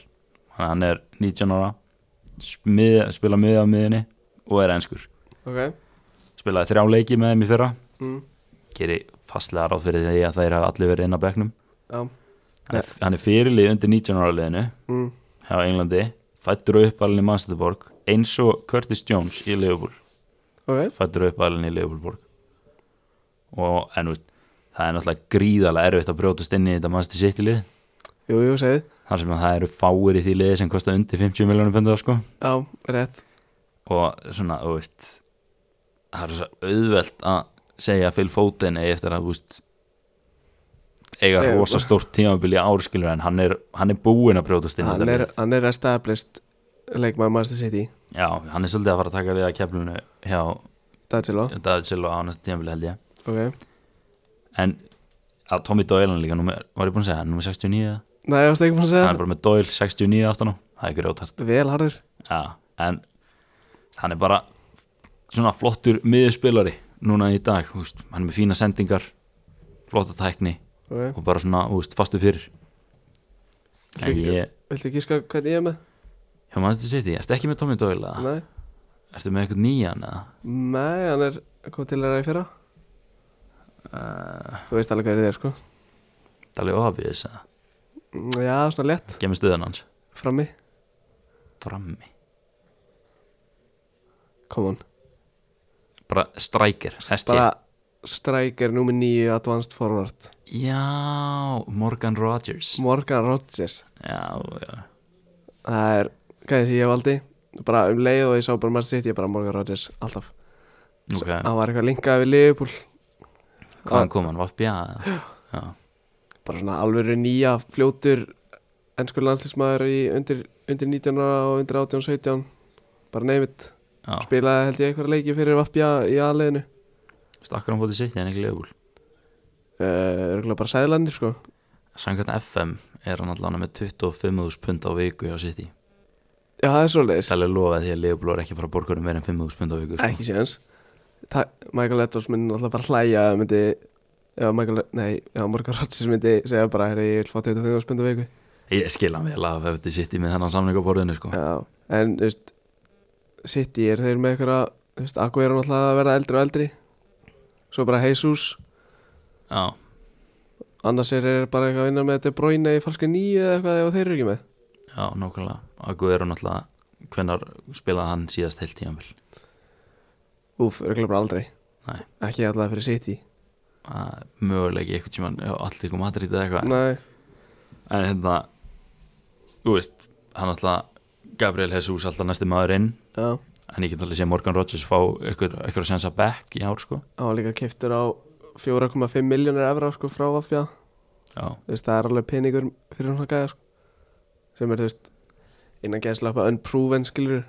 B: hann er 19 ára smið, spila miðið á miðinni og er enskur
A: ok
B: Spilaði þrjá leiki með þeim í fyrra
A: mm.
B: Geri fastlega ráð fyrir því að þeir hafa allir verið inn á bekknum
A: Já,
B: Hann er, hann er fyrirlið undir 19 ára liðinu
A: mm.
B: hjá Englandi, fættur og uppalinn í Manchesterborg, eins og Curtis Jones í Liverpool,
A: ok
B: fættur og uppalinn í Liverpoolborg og en þú veist, það er náttúrulega gríðarlega erfitt að brjótast inn í þetta Manchester City lið
A: Jú, jú, segið
B: þar sem að það eru fáir í því liði sem kosta undir 50 miljónum pundar sko
A: Já, rétt
B: og svona, þú veist það er svo auðvelt að segja Phil Foden eigi eftir að, þú veist eiga
A: Nei,
B: rosa stórt tímabil í ári skilur en hann er, hann er búinn að brjótast inn í
A: Hann
B: þetta
A: er,
B: lið.
A: hann er established leikmaður Master City
B: Já, hann er svolítið að fara að taka við að keflunu hjá
A: Dagilo,
B: David Silva á næsta tímafél held ég
A: ok
B: en að Tommy Doyle hann er líka númer, var ég búinn að segja, hann er númer 69 eða?
A: Nei, ég varst ekki búin að segja
B: hann er bara með Doyle 69 aftan á það er grjótart
A: það Vel harður
B: ja, en hann er bara svona flottur miðspilari núna í dag úst. hann er með fína sendingar flotta tækni
A: Ok,
B: og bara svona úst, fastu fyrir en
A: Líka.
B: ég
A: viltu gíska hvernig ég er með?
B: hjá mannstu sitt ég, ertu ekki með Tommy Doyle eða?
A: Nei
B: ertu með eitthvað nýjan eða?
A: Nei, hann er kom til þeirra í fyrra
B: Eh.
A: Þú veist alveg hverju þið er, sko
B: Dalí Óhafíðis eða?
A: Mm, Já, svona létt
B: Gemmi stöðan hans
A: Frammi
B: frammi
A: Come on
B: bara striker, ST
A: bara striker nummer 9 advanced forward
B: Já, Morgan Rodgers
A: Morgan Rodgers
B: Já, já
A: það er gæði sem ég valdi bara um leið og ég sá bara maður sitt ég bara Morgan Rodgers alltaf
B: Ok,
A: hann var eitthvað linkað við Liverpool
B: hvaðan kom hann, Vafbja? Já,
A: bara svona alveg nýja fljótur ennskur landslísmaður í undir, undir 19 ára og undir 18 17 bara neymitt
B: já
A: spilaði held ég eitthvað leiki fyrir Vapja í aðleginu
B: Stakkar hann fótið sitt, en ekki lögul
A: uh, örgulega bara sæðlandir sko
B: Sannkvæmt FM er hann allan með 25.000 pund á viku hjá City
A: já það er svoleiðis
B: Sæli lofaði því að Leopold var ekki að fara að borga hann meira en 5.000 pund á viku sko.
A: ekki séans Ta Michael Edwards myndi náttúrulega bara hlæja ef myndi, ef Michael, nei, ef Morgan Rodgers myndi segja bara, herri, ég vil fá 25 spund á viku
B: Ég skil hann vel að verði City með þennan samning á borðinu sko.
A: já, en, þú veist City er þeir með einhverja þú veist, Akku er náttúrulega að verða eldri og eldri svo bara Jesus
B: Já,
A: annars er þeir bara eitthvað að vinna með De Bruyne í falska nýju eða eitthvað ef þeir eru ekki með
B: já, nákvæmlega Agu eru náttúrulega Hvenær spilaði hann síðast heilt tíðanvel?
A: Úf, örgulega bara aldrei
B: Nei.
A: Ekki allavega fyrir City
B: Það er mögulegi eitthvað tíma allir kom Madrid eða eitthvað
A: Nei,
B: en hérna þú veist, hann alltaf Gabriel Jesus alltaf næsti maður inn
A: já
B: en ég get alveg sé Morgan Rodgers fá ykkur, ykkur að sensa back í ár sko
A: Hann var líka keftur á 4,5 miljónir evra sko frá Vafja
B: já,
A: Þú veist, það er alveg peningur fyrir svona gæja sko Sem er, þú veist, innan geðslappa unproven skilur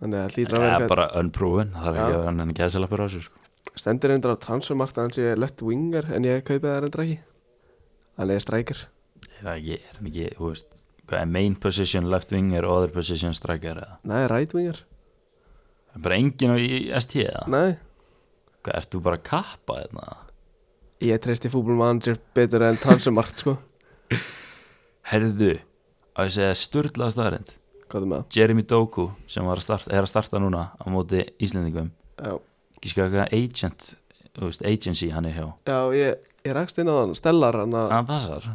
A: Þannig að það hlýtur að vera
B: eða
A: eitthvað-
B: bara unproven það er
A: Já.
B: ekki að vera hann en gæðselappur á þessu sko
A: Stendur reyndar á transfermarkt að hann sé left winger En ég kaupið það reyndar ekki Hann er strækir
B: er það ekki, er hann ekki, þú veist hvað er main position, left winger, other position striker eða,
A: Nei, right winger
B: það er bara enginn á í ST eða,
A: Nei
B: hvað, ert þú bara að kappa hérna? þarna,
A: Ég treysti fútbolmanager betur en transfermarkt sko
B: herðu á ég að segja sturlaða staðarind
A: Hvað er með það?
B: Jeremy Doku sem var að starta, er að starta núna á móti Íslendingum
A: Já,
B: ekki sko eitthvað agent þú veist, agency hann er hjá
A: já ég, ég rakst inn á hann Stellar hann að
B: hann passar,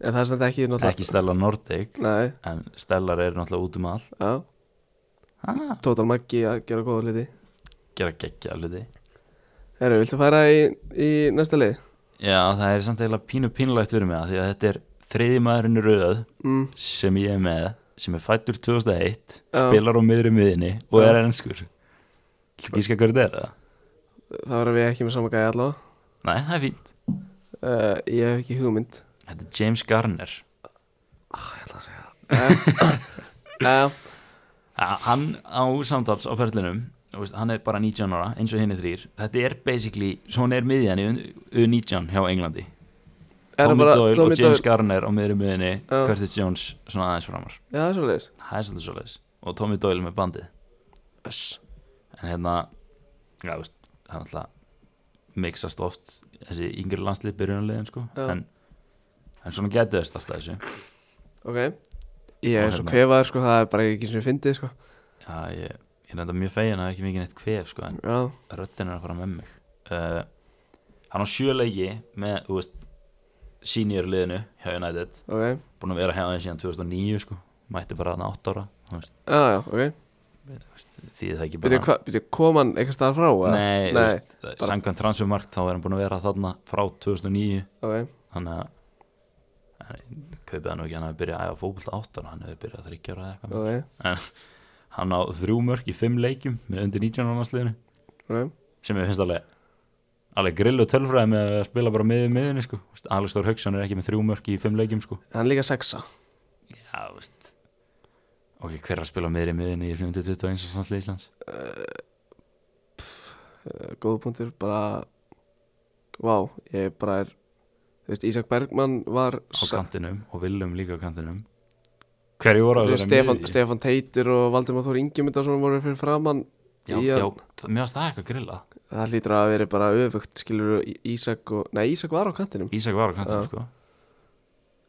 A: En það er sem ekki náttúrulega
B: ekki Stella Nordic
A: Nei,
B: en Stellar er náttúrulega út um all
A: já
B: ha,
A: Total Maggi að gera góða hluti
B: gera geggja hluti
A: Herru, viltu færa í, í næsta lið?
B: já það er samt eiginlega pínu pínulegt fyrir mig að því að þetta er þriði maðurinn í rauð
A: Mm,
B: sem ég er með sem er fættur 2001
A: Já.
B: spilar á miðri miðinni og
A: Já.
B: er ennskur gíska hverju þetta er það?
A: það verðum við ekki með sama gæja allavega
B: Nei, það er fínt
A: uh, Ég hef ekki hugmynd
B: Þetta er James Garner
A: Já,
B: Ha- hann á samtals á ferlinum þú veist, hann er bara 19 ára eins og henni þrýr þetta er basically, svona er miðjan í U19 hjá Englandi
A: er það
B: Tommy
A: bara
B: Doyle
A: Tommy
B: og James
A: Doyle
B: Garner á miðri miðinni
A: Já.
B: Curtis Jones svona aðeins framar
A: Já, það er svo leiðis
B: það er svolítið svolítið og Tommy Doyle með bandið en hérna já, þú veist, hann alltaf mixast oft þessi yngri landslið byrjunarliðin sko
A: Já.
B: en, en svona getur þess alltaf þessu
A: Ok Ég er
B: Og
A: svo
B: hérna.
A: kvefaður sko, það er bara ekki sem ég fyndið sko
B: já, ég, ég er enda mjög fegin að það er ekki mikið neitt kvef sko en
A: Já,
B: röddin er að fara með mig uh, hann á sjöleiki með, þú veist senior liðinu hjá United
A: ok
B: búin að vera hjá þeim síðan 2009 sko mætti bara hann 8 ára þú veist,
A: Já, já, ok
B: því það ekki
A: Byrju,
B: bara
A: hva, byrju, kom hann eitthvað staðar frá? eða?
B: nei, þú
A: Nei,
B: veist,
A: bara-
B: samkvæmt transfermarkt þá er hann búin að vera þarna frá 2009
A: ok
B: þannig að en ég kaupið hann nú ekki hann hefði byrjað að æfa fókbalt 8 ára hann hefði byrjað að 30 ára eða eitthvað
A: Ok,
B: hann á þrjú mörk í 5 leikjum með undir 19 ára sliðinu
A: ok
B: sem ég finnst alveg alveg grill og tölfræði með að spila bara miðið miðinni sko. Þú veist, Alex Þór Hauksson er ekki með þrjú mörk í fimm leikjum sko.
A: Hann líka sexa
B: já, þú veist ok, hver er að spila miðri miðinni í 21. landslið Íslands
A: uh, Góð punktur, bara Vá, ég bara er Þú veist, Ísak Bergmann var
B: á kantinum og Willum líka á kantinum hverju voru á
A: Þú veist,
B: þessari
A: Stefan,
B: miðju?
A: Stefan Teitur og Valdimar Þór Ingemyndar sem voru fyrir framann
B: já,
A: í að-
B: já, það- mér varst það eitthvað grilla
A: Það hlýtur að vera bara öfugt skilur Ísak og, nei Ísak var á kantinum
B: Ísak var á kantinum
A: Já.
B: sko.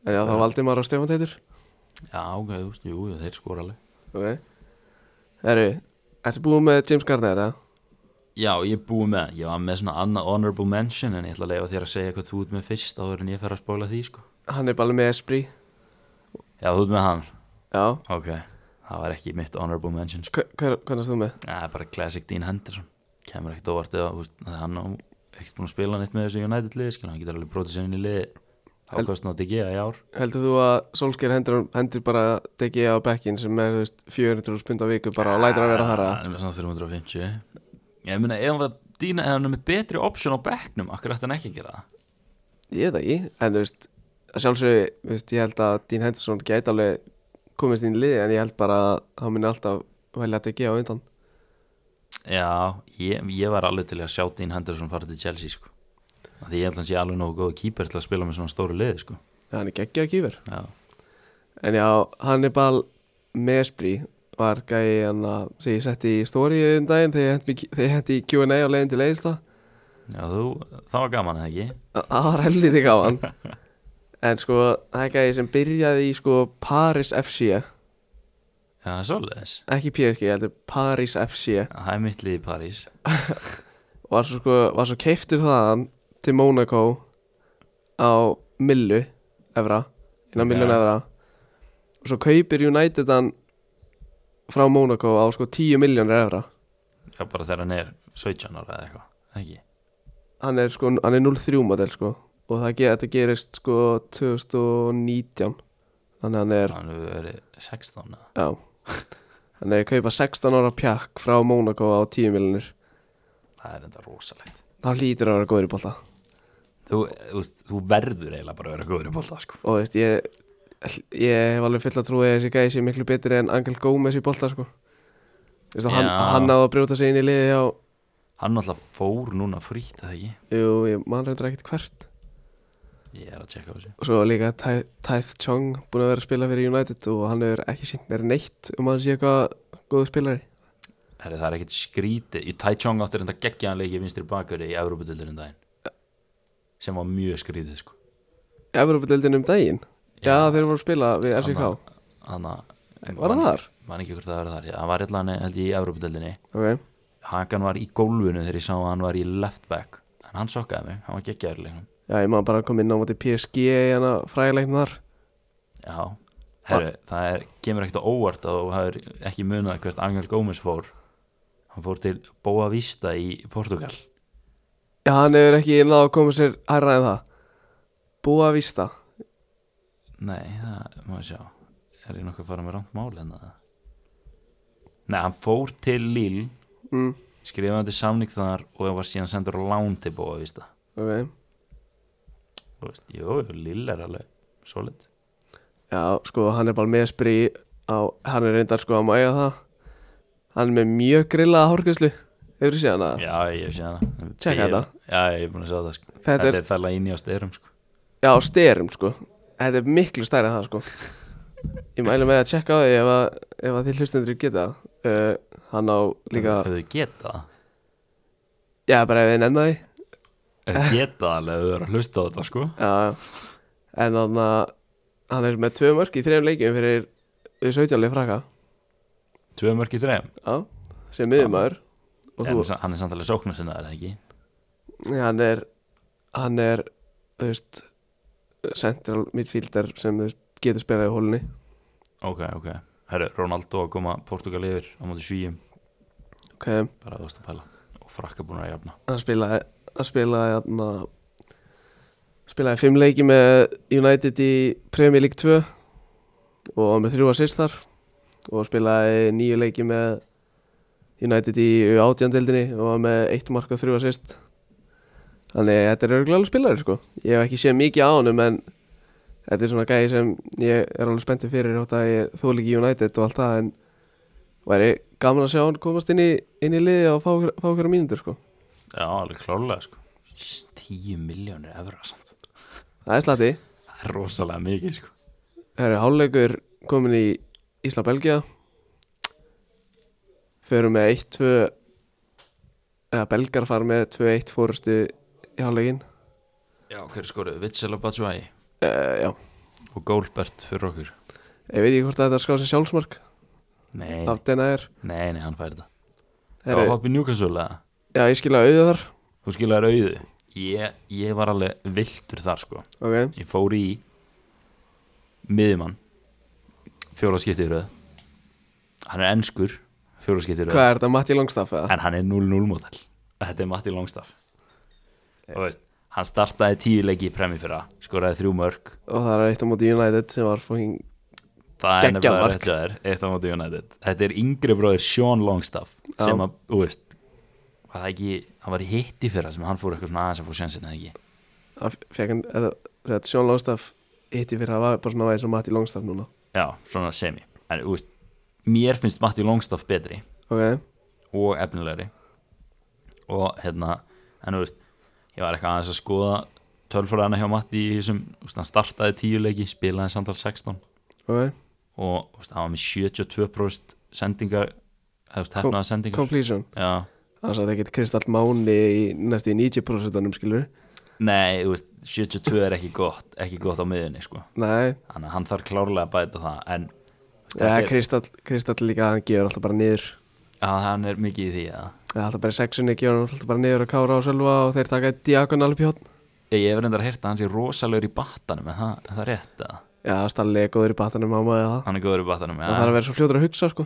A: En já, þá Valdimar og Stefan Teitur
B: já, ok, þú veist, jú, jú, þeir skora alveg
A: Ok Herru, ertu búin með James Garner, eða?
B: já, ég er búið með, ég var með svona annað honorable mention en ég ætla að leifa þér að segja hvað þú ert með fyrst áður en ég fer að spóla því sko.
A: Hann er bara alveg með Esprit
B: já, þú ert með hann
A: Já,
B: Ok, það var ekki mitt honorable mention sko.
A: Hver- hver- hvernig erst þú með?
B: Það er bara classic Dean Henderson Kemur ekkert óvart eða þú veist, að hann á ekkert búin að spila neitt með þessu United liði skilur, hann getur alveg brotið sér inn í liði
A: Held-
B: ákvæmst nátt ekki að í ár
A: Heldur þú að Solskjaer hendur, hendur bara degi á bekkin sem er þú veist, 400 pund á viku bara og lætir að vera þar að
B: Hann er með svona 350 Ég meina, ef hann var Dean, ef hann er með betri option á bekknum akkur ætti hann ekki að gera það
A: Ég veit það ekki, en þú veist að sjálfsögðu, þú veist, ég held að Dean Henderson gæti alveg komist inn í liði en ég held bara að hann muni alltaf velja að degi á undan
B: Já, ég, ég var alveg til að sjá Dean Henderson fara til Chelsea sko. Af Því ég held að hann sé alveg nógu góð kýper til að spila með svona stóru liði sko.
A: en hann er geggja að kýfur
B: Já,
A: En já, Hannibal Mesbri var gæi hann að sem ég setti í story um daginn þegar ég henti mig- þegar ég hendi í Q&A á leiðin til leiðist það
B: Já þú, það var gaman eða ekki
A: það var helviti gaman en sko það er gæði sem byrjaði í sko Paris FC
B: Já, svoleiðis
A: ekki PSG, heldur Paris FC
B: Það er mitt lið í París
A: var svo sko, var svo keiftur þaðan til Monaco á millu evra, innan millun
B: Já.
A: evra og svo kaupir United hann frá Monaco á sko 10 milljónir evra
B: Já, bara þegar hann er 17 ára eða eitthvað, eða ekki
A: hann er sko, hann er 0-3 model sko og það ge þetta gerist sko 2019 þannig að hann er,
B: hann hefur verið 16 eða
A: já hann er að kaupa 16 ára pjakk frá Monaco á 10 miljonir
B: það er enda rosalegt
A: þá hlýtur að vera góður í bolta
B: þú, þú, veist, þú verður eiginlega bara að vera góður í bolta sko.
A: og þú veist, ég ég hef alveg full að trúið að þessi gæði sé miklu betri en Angel Gómez í bolta sko þú veist, og hann,
B: Já.
A: hann náði að brjóta sig inn í liði á
B: hann alltaf fór núna frýtt eða ekki
A: jú, ég man reyndar ekkert hvert
B: ég er að tjekka á þessu
A: og svo líka Ty- Tyth Chong búin að vera að spila fyrir United og hann hefur ekki sínt mér neitt um að hann sé eitthvað góðu spilari
B: Heri, það er ekkit skrítið, í Taichung áttir enda geggjaðanleiki vinstri bakari í Evrópudildurinn daginn sem var mjög skrítið sko.
A: Evropadeildin um daginn Já, þeir voru að spila við FCK
B: Þannig að
A: Var það þar?
B: Man ekki hvort það var þar, já, það var allan held ég í Evrópudildinni
A: Ok,
B: Hakan var í gólfinu þegar ég sá að hann var í left back en hann sokkaði mig, hann var geggjaður í leiknum
A: já, ég maður bara kom inn á móti PSG í hana fræðilegn þar
B: Já, herru, það er, kemur ekkert á óvart að þú hafur ekki munað hvert Angel Gómez fór hann fór til Boa Vista í Portugal
A: Já, hann hefur ekki náð að koma sér hærra en það Búa Vista
B: Nei, það, maður sjá er ég nokkuð að fara með rámt mál en það Nei, hann fór til Lille
A: mm,
B: skrifandi samning þar og var síðan sendur á lán til Boa Vista
A: Ok,
B: Þú veist, jú, Lille er alveg solid
A: já, sko, hann er bara með spri á, hann er reyndar sko að má eiga það Hann er með mjög grillaða hárgæslu Hefur þú séð hann að
B: Já, ég hef séð hana
A: Tjekka
B: Ég-
A: þetta.
B: Já, ég hef búin að segja það sko.
A: Þetta
B: Þetta
A: er-
B: er fæla inn í á styrum sko.
A: Já, styrum sko Þetta er miklu stærri en það sko Ég mælu með að tjekka á því ef að, ef að þið hlustendur geta uh, Hann á líka
B: Ef þau geta það
A: Já, bara ef þið nennan því
B: Ef þau geta það alveg, ef þau eru að hlusta á þetta sko
A: Já, en þannig að hann er með tvö mörg í þrejum leikjum fyrir 17 leik frakka
B: Tvö mörg í þrejum
A: Já, sem miðumæður og
B: En
A: þú,
B: sa- hann er samtalið sóknar sinna, er það ekki?
A: Já, hann er hann er, þú veist central midfielder sem þú veist, getur spilað í hólunni
B: Ok, ok Herru, Ronaldo að koma Portugal yfir á móti svíum
A: ok, hann
B: bara þú veist að pæla og frakka búin að jafna
A: spilaði hann spilaði hann hérna, spilaði fimm leiki með United í Premier League 2 og var með þrjú assist þar og spilaði nýju leiki með United í átjandildinni og var með eitt mark og þrjú assist þannig þetta er örgulega alveg spilari sko ég hef ekki séð mikið á honum en þetta er svona gæði sem ég er alveg spenntið fyrir þótt að ég þól ekki United og allt það en væri gaman að sjá hann komast inn í, inn í liði og fá, fá hverja mínútur sko
B: Já, alveg klálega sko Sh, 10 miljónir evra samt
A: það er slatti
B: Það er rosalega mikið sko
A: Það eru hálfleikur komin í Ísla-Belgia Förum með 1-2 eða belgar fara með 2-1 fórustu í hálfleikin
B: Já, hver skoruðu? Vitsel og Batsvægi
A: uh, Já,
B: og Gólbert fyrir okkur
A: ég veit ekki hvort að þetta skáði sem sjálfsmark
B: Nei,
A: af Denair
B: nei, nei, hann fær þetta Það var
A: Heru,
B: hoppið njúkasölu eða?
A: Já, ég skilja auðu þar
B: Þú skilaði rauðu ég, ég var alveg viltur þar sko
A: Ok,
B: Ég fór í miðjumann fjóra skipti í rauð Hann er enskur fjóra skipti í rauð
A: hvað er þetta? Matti Longstaff eða?
B: En hann er 0-0 mótel Þetta er Matti Longstaff Þú veist, hann startaði tíu leiki í premi fyrra Skoraði þrjú mörg
A: Og það er eitt á móti United sem var fóking
B: Það er
A: Geggjað
B: nefnilega
A: mark.
B: rétt hjá þér Eitt á móti United Þetta er yngri bróðir Sean Longstaff
A: Já.
B: Sem að, þú veist Var það ekki, hann var í hitti fyrra Sem hann fór eitthvað svona aðeins að fór sjensin eða ekki
A: Fekk hann, eða, þetta Sjón Longstaff hitti fyrir að var bara svona væri sem Matti Longstaff núna
B: Já, svona semi En, þú veist, mér finnst Matti Longstaff betri
A: Ok,
B: og efnilegri og hérna en þú veist, ég var eitthvað aðeins að skoða tölfræðana hjá Matti í þessum þú veist, hann startaði tíu leiki, spilaði samtal 16
A: ok
B: og þú veist, hann var með 72% sendingar eða þú veist, hefnaða sendingar
A: Completion
B: Já,
A: Það sagði ekki Kristall Máni í næstu í 90% skilur
B: nei, þú veist 72 er ekki gott, ekki gott á miðunni sko.
A: Nei,
B: þannig að hann þarf klárlega að bæta það en þú veist,
A: ja,
B: þetta er-
A: Kristall, Kristall líka hann gefur alltaf bara niður
B: Já, hann er mikið í því að
A: Það er alltaf bara í sexunni gefur hann alltaf bara niður að kára á selva og þeir taka diagonal upp í hotn
B: ég hef reyndar að hérta hann sé rosalegur í battanum en það, er það rétt að
A: Já, Stalli er góður í batanum á maður það
B: hann er góður í battanum
A: Það þarf að vera svo fljótur að hugsa sko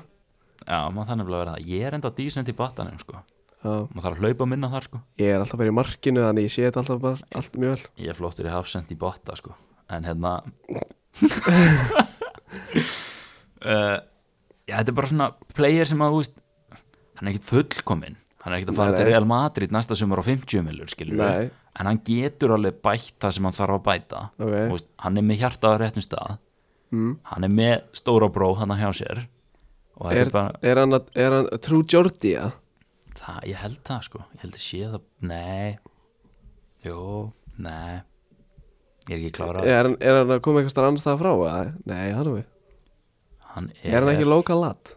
B: Já, maður þannig að vera það. Ég er enda dísnend í batanum, sko.
A: Já.
B: maður þarf að hlaupa minna þar sko
A: Ég er alltaf bara í markinu þannig ég sé þetta alltaf bara allt mjög vel
B: ég er flottur í hafsend í botta sko en hérna uh, já þetta er bara svona player sem að þú veist hann er ekkit fullkominn hann er ekkit að fara
A: Nei,
B: til
A: nei.
B: Real Madrid næsta sumar á 50 milur skilur
A: Nei.
B: en hann getur alveg bætt það sem hann þarf að bæta
A: Ok.
B: Þú veist, hann er með hjartað á réttum stað mm. hann er með stóra bró hann að hjá sér og þetta
A: Er,
B: er bara,
A: er, hann, að- er hann True Jordi, ja?
B: það, ég held það sko ég held að sé það, nei jú, nei ég er ekki klárað
A: Er, hann- er hann að koma eitthvað annars það frá? eða? Nei, hann er við
B: hann
A: Er hann ekki local lad?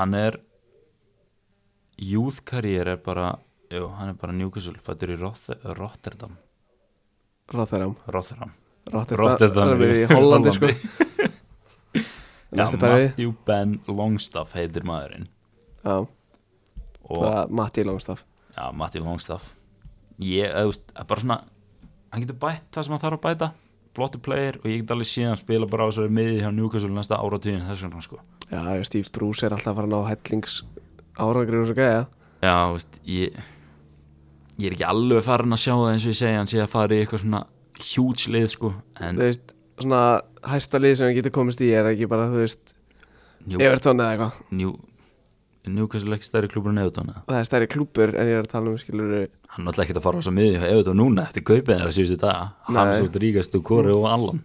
B: hann er youth career er bara jú, hann er bara Newcastle fættur í Roth- Rotterdam
A: Rotterdam
B: Rotterdam
A: Rotterdam,
B: Rotterdam
A: Rotterdam er í Hollandi sko
B: já,
A: Næstu bara við
B: Matthew Ben Longstaff heitir maðurinn
A: Já,
B: og
A: bara Matti Longstaff
B: já, Matthew Longstaff ég, eða, þú veist, það er bara svona hann getur bætt það sem hann þarf að bæta flottu player og ég get alveg síðan spila bara á þessari miði hjá Newcastle næsta áratugin þess vegna sko
A: Já, ég, Steve Bruce er alltaf að fara að ná hellings árangri úr þessu gæja
B: Já, þú veist, ég ég er ekki alveg farin að sjá það eins og ég segi hann sé að fara í eitthvað svona huge lið sko, en
A: Þú veist, svona hæsta lið sem hann getur komist í er ekki bara, þú veist
B: Jú.
A: Everton eða eitthvað
B: Njú, Newcastle er ekki stærri klubur en Evertón eða?
A: Það er stærri klúpur en ég er að tala um skilur
B: hann er náttúrulega ekkert að fara á þess að miðju hjá Evertón núna eftir kaupið þeirra síðustu dag
A: Nei.
B: Hamsótt ríkastu kori og allan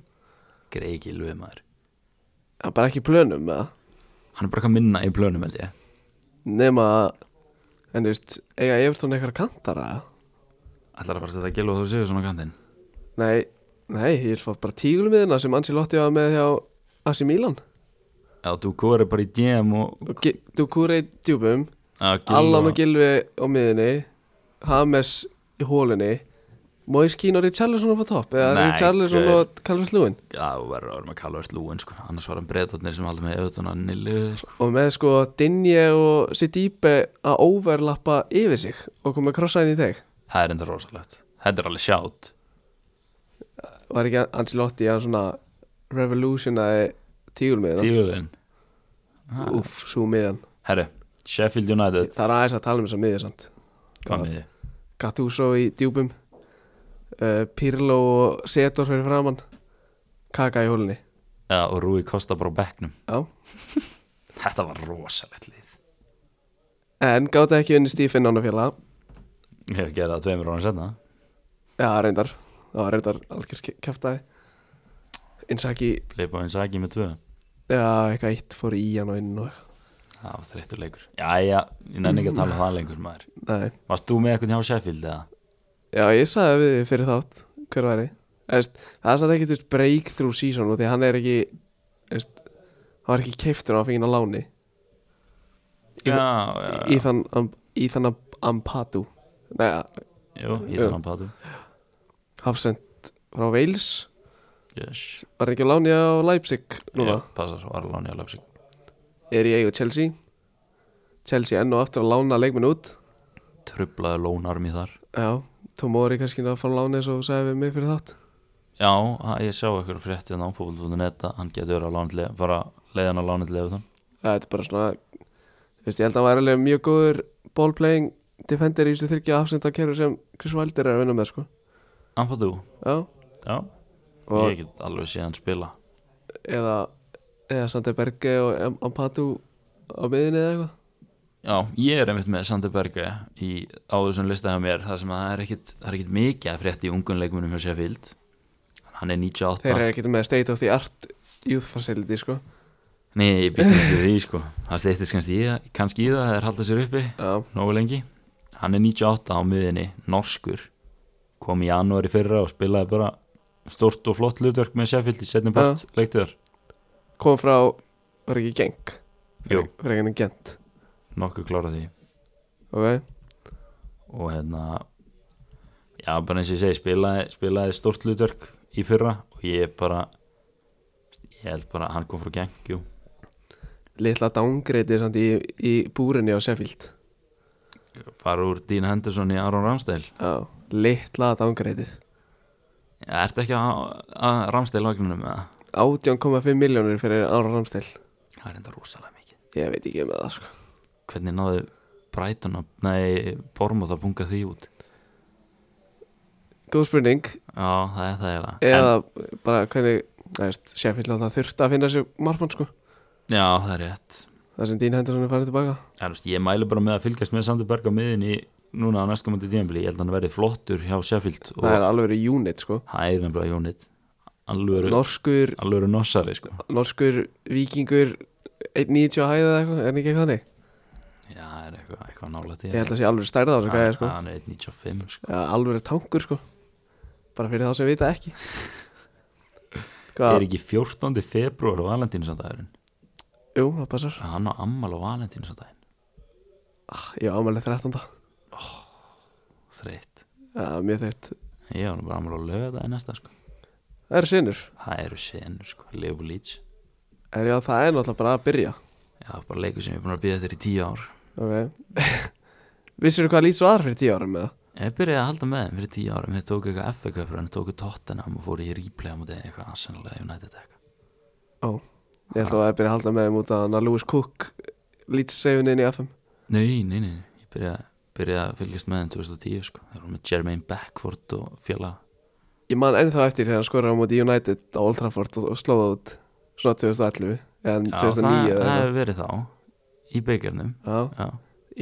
B: Greiki lög maður
A: Það er bara ekki í plönum með það
B: hann er bara eitthvað minna í plönum held ég
A: Nefn að, en þú veist, eiga Everton eitthvað kantara eða?
B: ætlar að fara að setja Gil og þú séu svona kantinn
A: Nei, nei, ég er fótt bara tígulmiðina sem Ansi Lotti var með hjá Asi Milan
B: Já, þú kori bara í DM og
A: og Dukure í djúbum
B: að Gylfi
A: Allan
B: var-
A: og Gilvi á miðinni Hames í hólunni Moise Keane og Richarlison upp á topp eða
B: Nei,
A: Richarlison
B: gaur.
A: og Calvert Lúin
B: Já, þú verður að vera með Kallur Lúin sko annars var hann breytatnir sem haldur með Evertón að nýlu sko.
A: og með sko Dinje og Sidibe að overlappa yfir sig og koma krossa inn í teg
B: Það er enda rosalegt Þetta er alveg sjátt
A: var ekki Ancelotti hann svona revolutionaði tígulmiðina
B: Tígulegin
A: Úff, svo miðan
B: Herru, Sheffield United
A: Það er aðeins að tala um þess að miðið samt
B: Hvað með því?
A: Gattuso í djúbum uh, Pirlo og Setor fyrir framann Kaka í hólunni
B: Já, og Rúi Kosta bara á bekknum
A: Já.
B: Þetta var rosalegt lið
A: en gáta ekki unni Stífinn án og félaga
B: Ég hef gerað það tveimur ára senna
A: Já, reyndar Það var reyndar algjör kæftæði Innsaki
B: Leip á eins aðgið með tvö
A: Já, eitthvað eitt fór í hann og inn og
B: Það var þreyttur leikur Jæja, ég nenni ekki að tala um það lengur maður
A: Nei
B: Varst þú með eitthvað hjá Sheffield eða?
A: Já, ég sagði við þig fyrir þátt Hver væri Eðst, Það er satt ekki veist, breakthrough season og Því að hann er ekki veist, Hann var ekki keiftur og hann fengið á láni Í-
B: Já, já, já
A: Íþann Am- Íþann Am- Ampadu Nei,
B: Jú, í þannig patu
A: hafsend frá Wales
B: Yes
A: Var ekki á láni á Leipzig núna
B: Ég Passar, var alveg nýja lögsing
A: Er í eigu Chelsea Chelsea enn og aftur að lána leikminn út
B: Trublaði lónarmi þar
A: Já, Tomori kannski að fara á láni eins og þú sagði við mig fyrir þátt
B: Já, að- ég sjá eitthvað fréttið á fólkbúlunetta, hann getur verið að lánitlega, fara leiðan að lánitlega þann.
A: Það er bara svona þú veist, Ég held að hann væri alveg mjög góður ballplaying defender í þessu þyrkja hafsenda kerfi sem Chris Wilder er að vinna með sko
B: Ampadu,
A: Já,
B: já,
A: og
B: ég get alveg séð hann spila.
A: eða eða Sander Berge og Am- Ampadu á miðinni eða eitthvað
B: Já, ég er einmitt með Sander Berge í, á þessum lista hjá mér þar sem að það er ekkit, það er ekkit mikið að frétta í ungunleikunum hjá Sheffield hann er 98
A: Þeir eru ekkert með state of the art youth facility sko
B: Nei, ég býst nú ekki við því sko það steyttist kannski, í það- kannski í það það er haldið sér uppi
A: Já,
B: nógu lengi hann er 98 á miðinni, norskur kom í janúar í fyrra og spilaði bara stort og flott hlutverk með Sheffield í setnum part, leiktið þar
A: kom frá, var ekki geng
B: Jú,
A: fyrir einhvern gent
B: nokkuð klára því
A: ok,
B: og hérna já, bara eins og ég segi, spilaði, spilaði stort hlutverk í fyrra og ég bara ég held bara að hann kom frá geng, jú
A: litla downgreiti samt í, í búrinni á Sheffield
B: fara úr Dean Henderson í Aron Ramsdale
A: já, litla downgreitið
B: ertu ekki að, að Ramsdale vagnunum með það?
A: 18,5 miljónir fyrir Ára Ramstil
B: Það er enda rosalega mikið
A: ég veit ekki með um það sko
B: hvernig náðu Brighton að, nei, Bormóð að punga því út
A: Góð spurning
B: Já, það er það eiginlega.
A: Eða bara hvernig Það veist, Sheffield alltaf þurfti að finna sér marfmann sko
B: en, Já, það er rétt
A: Það sem Dín Henderson er farið tilbaka
B: Já, þú veist, ég mælu bara með að fylgjast með Sandur Berg á miðinni núna á næstkomandi tímabili, ég held að hann verði flottur hjá Sheffield og
A: Það er alveg verið unit sko
B: það er nefnilega Jónit alvöru,
A: Norskur,
B: alvöru nossari sko
A: norskur, vikingur 1.90 að hæða eða eitthvað, er hann ekki eitthvað þannig?
B: Já, það er eitthvað, eitthvað nálægt
A: Ég held að sé alveg stærða á þessu gæja sko
B: Hann er 1.95 sko
A: ja, Alveg tankur sko Bara fyrir þá sem vita ekki
B: Er
A: Hvað?
B: ekki 14. februar á valentínsandagurinn?
A: Jú, það passar
B: Hann á ammal á valentínsandaginn
A: Ég ámælið 13.
B: Þreitt
A: Ja, mjög þeitt
B: Ég var nú bara ammal á lögadaginn næsta sko
A: Það er sinnur
B: Það eru senur sko, Leopold Leach
A: Er já, það er náttúrulega bara að byrja
B: Já, bara leikur sem ég er búin að býða þér í tíu ár
A: Ok Vissir hvað lýs var fyrir 10 árum með það?
B: Ég byrjaði að halda með þeim fyrir tíu árum Þeir tóku eitthvað FA Cup Þeir tóku Tottenham og fóru í replay á móti eitthvað Arsenal eða United eða eitthvað
A: Ó Ég ætla að byrja að halda með þeim út að hann að Lewis Cook lýts segjun inn í FM
B: Nei, nei, nei, nei. ég byrjaði byrja að fylgjast með þeim 2010 sko Þeir voru með Jermaine Beckford og fjöla
A: Ég man ennþá eftir þegar hann skoraði á móti United á Old Trafford og, og slóða út svona 2011 en 2009
B: Já, það,
A: eða
B: það
A: eitthvað.
B: hefur verið þá Í byggarnum
A: Já,
B: Já.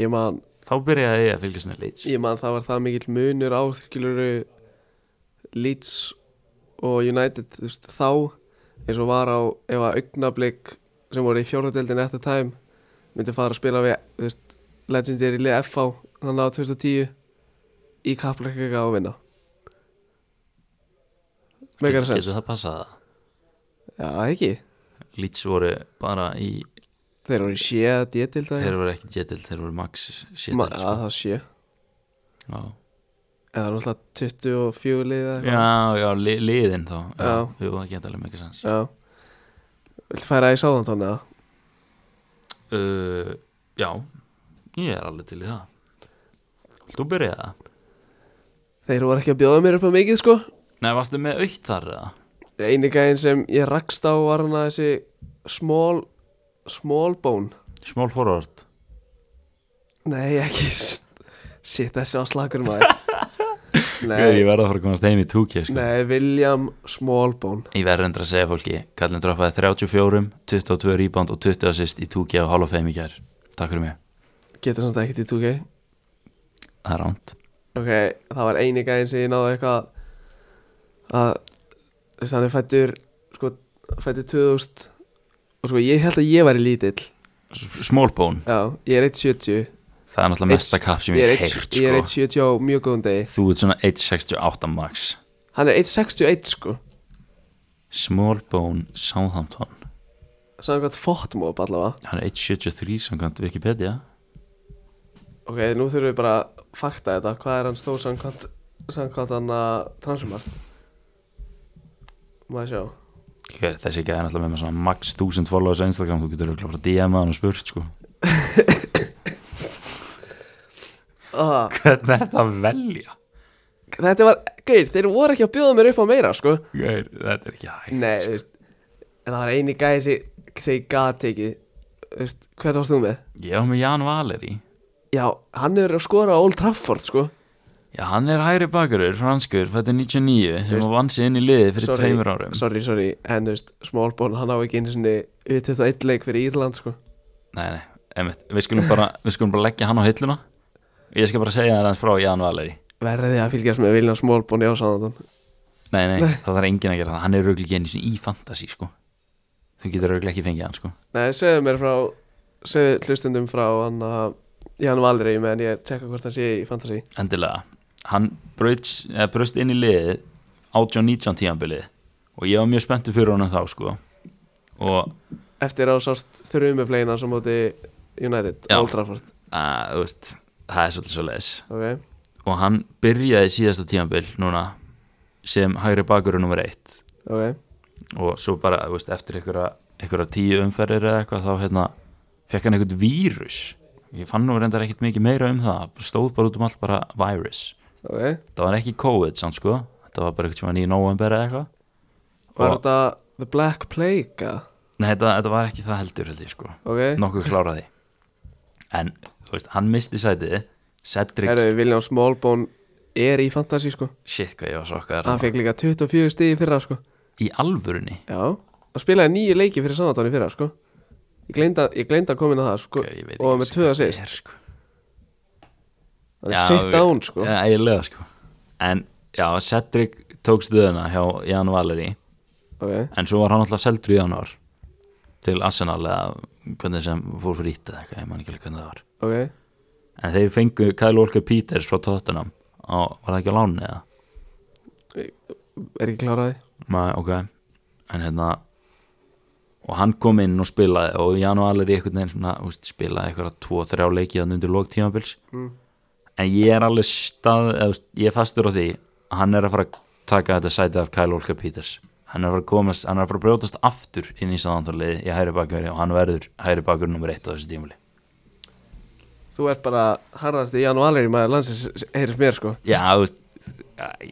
A: ég man,
B: Þá byrjaði ég að fylgjast með Leeds
A: ég man það var það mikill munur á skiluru Leeds og United þú veist, þá eins og var á ef að augnablík sem voru í fjórðadeldin eftir time myndi fara að spila við þú veist, legendary lið FH hann á 2010 í kappleika og vinna Megar
B: Getur-
A: sens
B: Getur það passað það?
A: Já, ekki
B: Leeds voru bara í
A: Þeir voru í sé að D-dild
B: Þeir voru ekki Jetill, þeir voru Max Jetill
A: Ma- að
B: sko.
A: það sé
B: Já,
A: eða náttúrulega 24 liða
B: já, já li, liðin þá Já,
A: Já.
B: Jú, það geta alveg mikið sens
A: já vil færa í sáðantón eða
B: uh, Já, ég er alveg til í það Þú byrjaði það
A: þeir voru ekki að bjóða mér upp á mikið sko
B: Nei, varstu með aukt þar eða?
A: eini gæðin sem ég rakst á var hann að þessi small small bone
B: Small forward
A: nei ekki sitt þessi á slakur maður
B: Ég
A: nei,
B: verða að fara að komast heim í 2K sko.
A: nei William Smallbone
B: Ég verður endur að segja fólki Kallin droppaði 34, 22 rebound og 20 assist í 2K á Hall of Fame í gær Takk fyrir mig,
A: getur samt ekkert í 2K
B: það er ránt
A: ok, það var eini gæðin sem ég náði eitthvað að þú veist, hann er fættur sko, fættur 2000 og sko, ég held að ég væri lítill
B: Small bone,
A: já, ég er 1.70
B: það er náttúrulega mesta
A: Einn-
B: kapp sem
A: ég
B: ég
A: er
B: hef heyrt
A: 1.70 ég er
B: sko.
A: 1.70 á mjög góðum degi
B: Þú ert svona 1.68 max
A: hann er 1.61 sko
B: Small bone Southampton
A: samkvæmt fotmóp allavega
B: Hann er 1.73 samkvæmt Wikipedia
A: ok, nú þurfum við bara að fakta þetta hvað er hann stór samkvæmt samkvæmt hann að transumart maður sjá
B: Hver, Þessi gæði náttúrulega með með svona max 1000 followers á Instagram Þú getur örugglega bara DM að hann og spurt sko
A: ah,
B: Hvernig er þetta að velja?
A: þetta var, gauð, þeir voru ekki að bjóða mér upp á meira sko
B: Hver, þetta er ekki hægt
A: Nei, þú veist En það var eini gæði sem sem ég gat tekið Þú veist, hvað varst þú með?
B: Ég var með Jan Valeri
A: Já, hann er að skora á Old Trafford, sko
B: Já, hann er hægri bakurur, franskur, fættur 99 sem
A: Veist-
B: var vann sig inn í liðið fyrir tveimur árum
A: Sorry, sorry, en þú veist, Smallbone, hann á ekki einu sinni Utið það eitt leik fyrir Írland, sko
B: Nei, nei, einmitt, við skulum, bara, við skulum bara leggja hann á hilluna Ég skal bara segja þér hans frá Jan Valeri
A: Verðið að fylgjast með Viljan Smallbone í ásáðan
B: Nei, nei, það þarf enginn að gera það Hann er rauglega ekki einu sinni í fantasy, sko Þú getur rauglega ekki fengið hann, sko
A: Nei, segðu mér frá Segðu hlustundum frá hann að Jan Valeri meðan ég tekka hvort hann sé í fantasy
B: Endilega Hann braust, eh, braust inn í liðið 18-19 tíambilið Og ég var mjög spenntur fyrir honum þá, sko Og,
A: Eftir á sást þrjumuflegin hans á móti United,
B: Já.
A: Old Trafford
B: að, eh, þú veist, það er svolítið svo leiðis
A: Ok,
B: Og hann byrjaði síðasta tíambil núna Sem hægri bakurinn nummer eitt
A: ok
B: og svo bara þú veist, eftir einhverja, einhverja tíu umferðir eða eitthvað þá hérna, fekk hann einhvern vírus ég fann nú reyndar ekkert mikið meira um það bara stóð bara út um allt bara virus
A: Ok,
B: það var ekki COVID samt sko þetta var bara eitthvað í november eða eitthvað
A: var
B: Og-
A: þetta The Black Plague, eða?
B: nei þetta, þetta var ekki það heldur held ég sko
A: ok,
B: nokkuð kláraði en þú veist, hann misti sætið Cedric,
A: Herðu, William Smallbone er í fantasy sko
B: shit hvað ég var sokkar
A: Hann fekk líka 24 stig í fyrra sko
B: í alvörunni
A: Já, hann spilaði nýju leiki fyrir samantáni fyrra sko Ég gleymda, ég gleymda að koma inn á það sko
B: Gaur, ég veit
A: Og
B: ekki
A: með
B: eins
A: tvö
B: hvað
A: að sýst
B: er, sko.
A: Það er sitt án sko
B: ja, eiginlega sko en já, Cedric tók stöðuna hjá Jan Valeri
A: Ok,
B: en svo var hann alltaf seldur í januar til Arsenal eða hvernig sem fór fyrir ít eða eitthvað, ég man ekki alveg hvernig það var
A: ok
B: en þeir fengu Kyle Walker Peters frá Tottenham og var það ekki á láni eða?
A: Er ekki kláraði
B: Ma, ok, en hérna og hann kom inn og spilaði og Jan og Alleri einhvern veginn svona úst, spilaði eitthvað tvo, þrjá leiki þannig undir lók tímabils en ég er alveg stað, eða, úst, ég er fastur á því að hann er að fara að taka þetta sæti af Kyle Walker Peters hann er að fara að komast, hann er að fara að brjótast aftur inn í saðantalið í hæri bakveri og hann verður hæri bakveri nummer eitt á þessu tímabili
A: Þú ert bara harðast í janúalir í maður landsins Heyrðist mér sko
B: já, þú veist,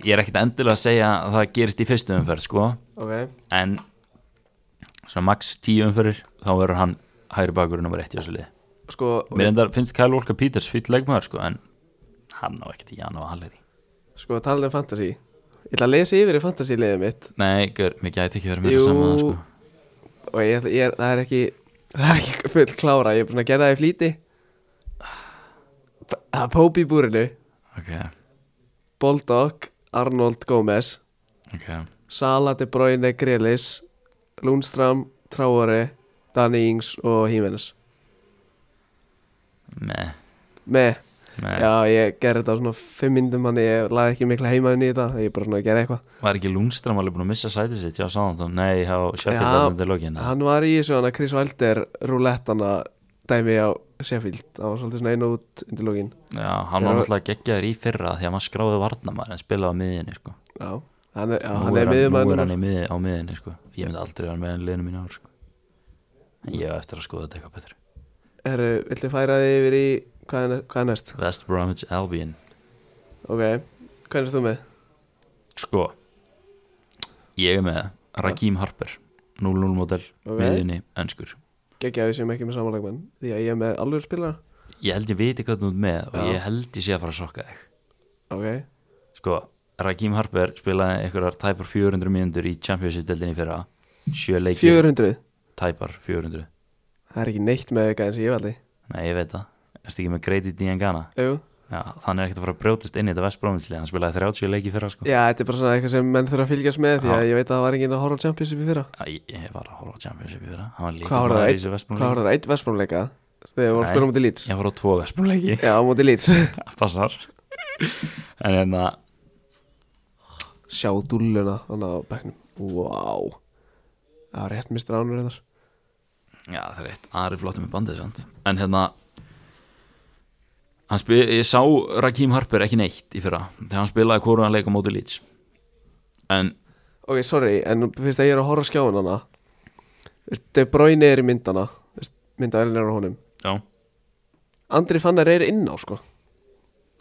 B: ég er ekkert endilega að segja að það gerist í fyrstu umferð sko,
A: Ok,
B: en svona max 10 umferðir þá verður hann hægri bakurinn nummer 1 í þessu lið
A: sko
B: mér endar finnst Kyle Walker Peters fýll leikmaður sko en hann á ekkert í Jan og Halleri
A: Sko talað um fantasy Ég ætla að lesa yfir í fantasy liðið mitt
B: nei, gör, mér gæti ekki verið meira saman það sko
A: Og ég, ætla- ég, það er ekki Það er ekki full klára Ég er búin að gera það í flýti Það er Pópi í búrinu
B: ok,
A: Boldog Arnold Gómez
B: ok,
A: Sala, De Bruyne, Grelis Lundström, Traore Danny Ings og Hímenes
B: nei,
A: með,
B: nei.
A: já ég gerði þetta á svona fimm myndum hann, ég laði ekki mikla heimaðin í þetta ég bara svona að gera eitthvað
B: var ekki Lundström alveg búin að missa sætið sitt já, sáðan þá, nei, hjá Sheffield
A: Já.
B: alveg undir lókin
A: hann var í þessu hann að Chris Wilder rúlettana dæmi á Sheffield hann var svolítið svona einu út undir lókin
B: já, hann var náttúrulega geggjaður í fyrra því að hann skráði varnamæður en spilaði á miðinni sko
A: já, hann er, já,
B: Nú
A: hann er
B: nú er
A: miðumann
B: hann í miði, á miðinni sko. ég myndi aldrei vera með hann liðinu mínu ár sko. en ég hef eftir að skoða þetta eitthvað betur
A: eru, villu færa þig yfir í hvað er, hvað er næst?
B: West Bromwich Albion
A: ok, hvað er þú með?
B: sko ég er með Rakim Harper 0-0 model,
A: Ok.
B: miðinni, önskur
A: geggja við sem ekki með samanlegmenn því að ég er með alveg spilara
B: ég held ég viti hvað þú ert með og
A: Já.
B: ég held ég sé að fara að sokka þig
A: ok,
B: sko, Rakim Harper spilaði einhverjar tæpar 400 mínútur í Championship-deldinni fyrra sjö leikir
A: 400
B: tæpar 400
A: Það er ekki neitt með auka eins og ég valdi
B: nei, ég veit það, ertu ekki með Grady Diangana
A: Jú.
B: Já, þannig er ekkert að fara að brjótast inn í þetta West Bromwich lið, hann spilaði 30 leiki fyrra sko.
A: Já, þetta er bara svona eitthvað sem menn þurfa að fylgjast með því að
B: Já.
A: ég veit að það var enginn að horfa á Champions upp í fyrra
B: Æ, ég var að horfa á Championship í fyrra Hann
A: Hvað
B: var líka
A: horfði
B: maður
A: á
B: í þessu West
A: Hvað
B: Bromwich
A: var það, eitt vestbrónleika? Þegar við vorum
B: Nei.
A: að spila á móti lít
B: Ég horfði á tvo West Bromwich leiki
A: Já, á móti lít
B: Passar En hérna,
A: Sjá dúlluna þannig á bekknum Vá Það var rétt mistur ánur reyndar
B: já það er eitt Ari flottum með bandið sant? En hérna hann spil, Ég sá Rakim Harper ekki neitt í fyrra Þegar hann spilaði hvorum hann leik á móti Leeds En
A: Ok, sorry, en nú finnst að ég er að horfa á skjáin hana Veist, De Bruyne er í myndana Veist, Mynda Elin er á honum
B: já,
A: Andri Fannar er inn á sko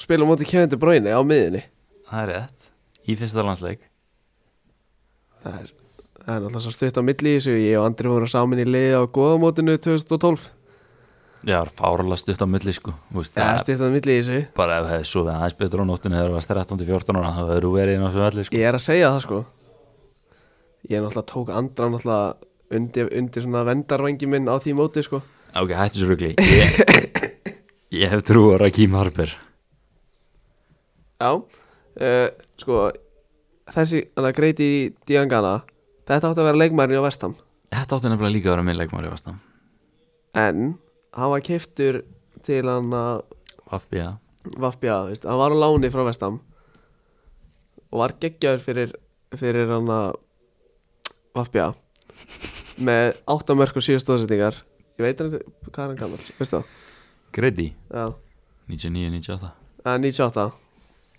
A: Spila á móti Kevin De Bruyne á miðinni
B: það er rétt Í fyrsta landsleik
A: Það er, það er náttúrulega svo stutt á milli í þessu Ég og Andri vorum saman í liði á góðamótinu 2012
B: Já, fárlega stutt á milli sko þú veist,
A: Það
B: það
A: er stutt á milli í þessu
B: bara ef hefði sofið aðeins betur á nóttinu þegar þú varst 13-14 ára þá hefur þú verið inn á svo allir sko.
A: Ég er að segja það sko Ég er náttúrulega tók Andra náttúrulega undir, undir svona vendarvangi minn á því móti sko
B: Ok, hættu svo rugli Ég, ég hef trú á Rakim Harper
A: Já uh, Sko Þessi hann að greiti í Diangana Þetta átti að vera leikmærin á Vestam
B: Þetta átti nefnilega líka að vera minn leikmári vastam
A: En hann var keiftur til hann að
B: Vafbja
A: Vafbja, veist, hann var á láni frá Vestam og var geggjaður fyrir, fyrir hann að Vafbja með 8 mörg og 7 stóðsettingar ég veit hann, hvað er hann gammal, veistu það?
B: Gredi
A: Já,
B: 99-98
A: það er 98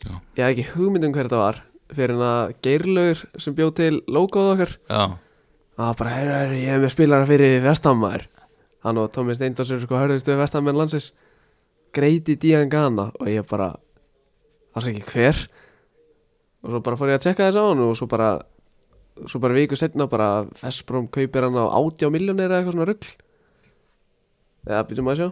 B: Já.
A: ég hef ekki hugmynd um hver þetta var fyrir hann að Geirlaugur sem bjóð til logoð okkar
B: Já,
A: Það var bara, heyrðu, heyrðu, ég hef með spilara fyrir Vestammar Hann og Tómi Steindors eru sko hörðustu Vestammenn landsins Greiti Diangana og ég bara Það sé ekki hver Og svo bara fór ég að tjekka þess á hann og svo bara Svo bara viku setna bara Vestbróm kaupir hann á 80 miljónir eða eitthvað svona rugl Eða býtum að sjá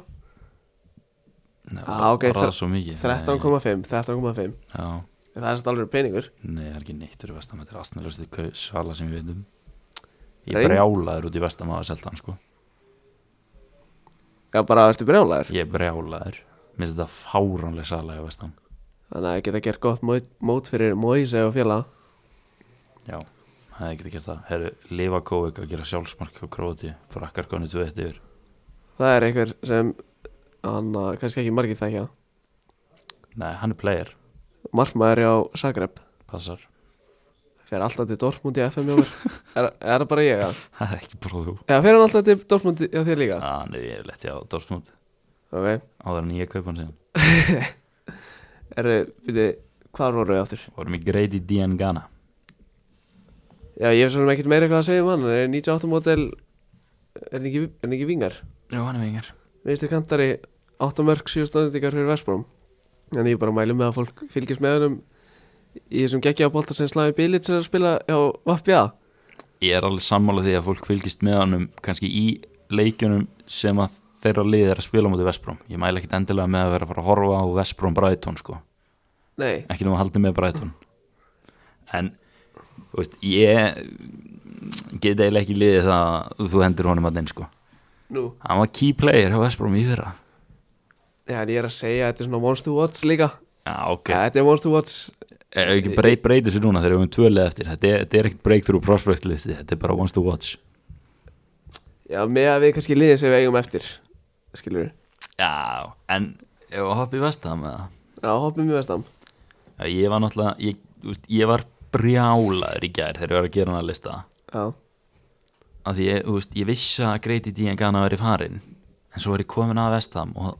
B: Nei,
A: Ah, ok,
B: orðað
A: þre-
B: svo mikið
A: 13,5 13,5
B: Nei, Já,
A: En Það er samt alveg peningur
B: nei, það er ekki neitt fyrir vestam Þetta er astanlega sala sem við veitum Ég
A: Reyn-
B: brjálaður út í vestam að selta hann sko
A: Já, bara ertu brjálæður
B: Ég er brjálaður Mér finnst þetta fáránlega sala í vestam
A: Þannig að geta gert gott mót, mót fyrir Moise og félag
B: Já, það er ekki að gera það Herru, lifa kóik að gera sjálfsmark á króti Frakkar konu 2-1 yfir
A: Það er einhver sem hann að kannski ekki margir þekkja
B: Nei, hann er player,
A: Marfmaður á Zagreb
B: passar
A: Fer alltaf til Dortmund í FM hjá mér Er, er það bara ég að?
B: Það er ekki bara þú
A: Já, fer hann alltaf til Dortmund í- hjá þér líka?
B: Þannig ég er lett hjá Dortmund
A: Ok,
B: Áður en ég kaup hann síðan
A: eru, byrju, hvar voru við áttur?
B: Vorum í Grady Dian Ghana
A: Já, ég hef svona ekkert meira hvað að segja um hann Hann er 98 mótel Er hann ekki, er hann ekki vingar?
B: Já, hann er vingar
A: Vinstri kantari 8 mörg 7 stóðendingar fyrir Vestbróm En ég bara mælu með að fólk fylgist með honum Í þessum geggja á bolta sem Slavi Bilic er að spila hjá Vapja
B: Ég er alveg sammála því að fólk fylgist með honum kannski í leikjunum sem að þeirra liðið er að spila mútið Vespróm Ég mæla ekkit endilega með að vera að fara að horfa á Vespróm Brighton sko
A: Nei,
B: ekki nema að haldi með Brighton en þú veist, ég get eiginlega ekki liðið það að þú hendur honum að sko
A: nú
B: hann var key player á Vestbrom í fyrra
A: Já, en ég er að segja, þetta er svona Monster Watch líka
B: já ok,
A: okay. Þetta er Monster Watch
B: ef ekki breyt, breytir sér núna þegar við höfum tvölið eftir, þetta er, þetta er ekkert breakthrough prospect listi, þetta er bara once to watch
A: Já, með að við kannski liðið sem við eigum eftir Skilur við
B: já, en ef að hoppa í vestam með það,
A: Já, hoppum við vestam
B: já, ég var náttúrulega ég, þú veist, ég var brjálaður í gær þegar ég var að gera hann að lista
A: Já,
B: að því ég, þú veist, ég vissi að Grady Dían Gana væri farin en svo var ég komin að vestam og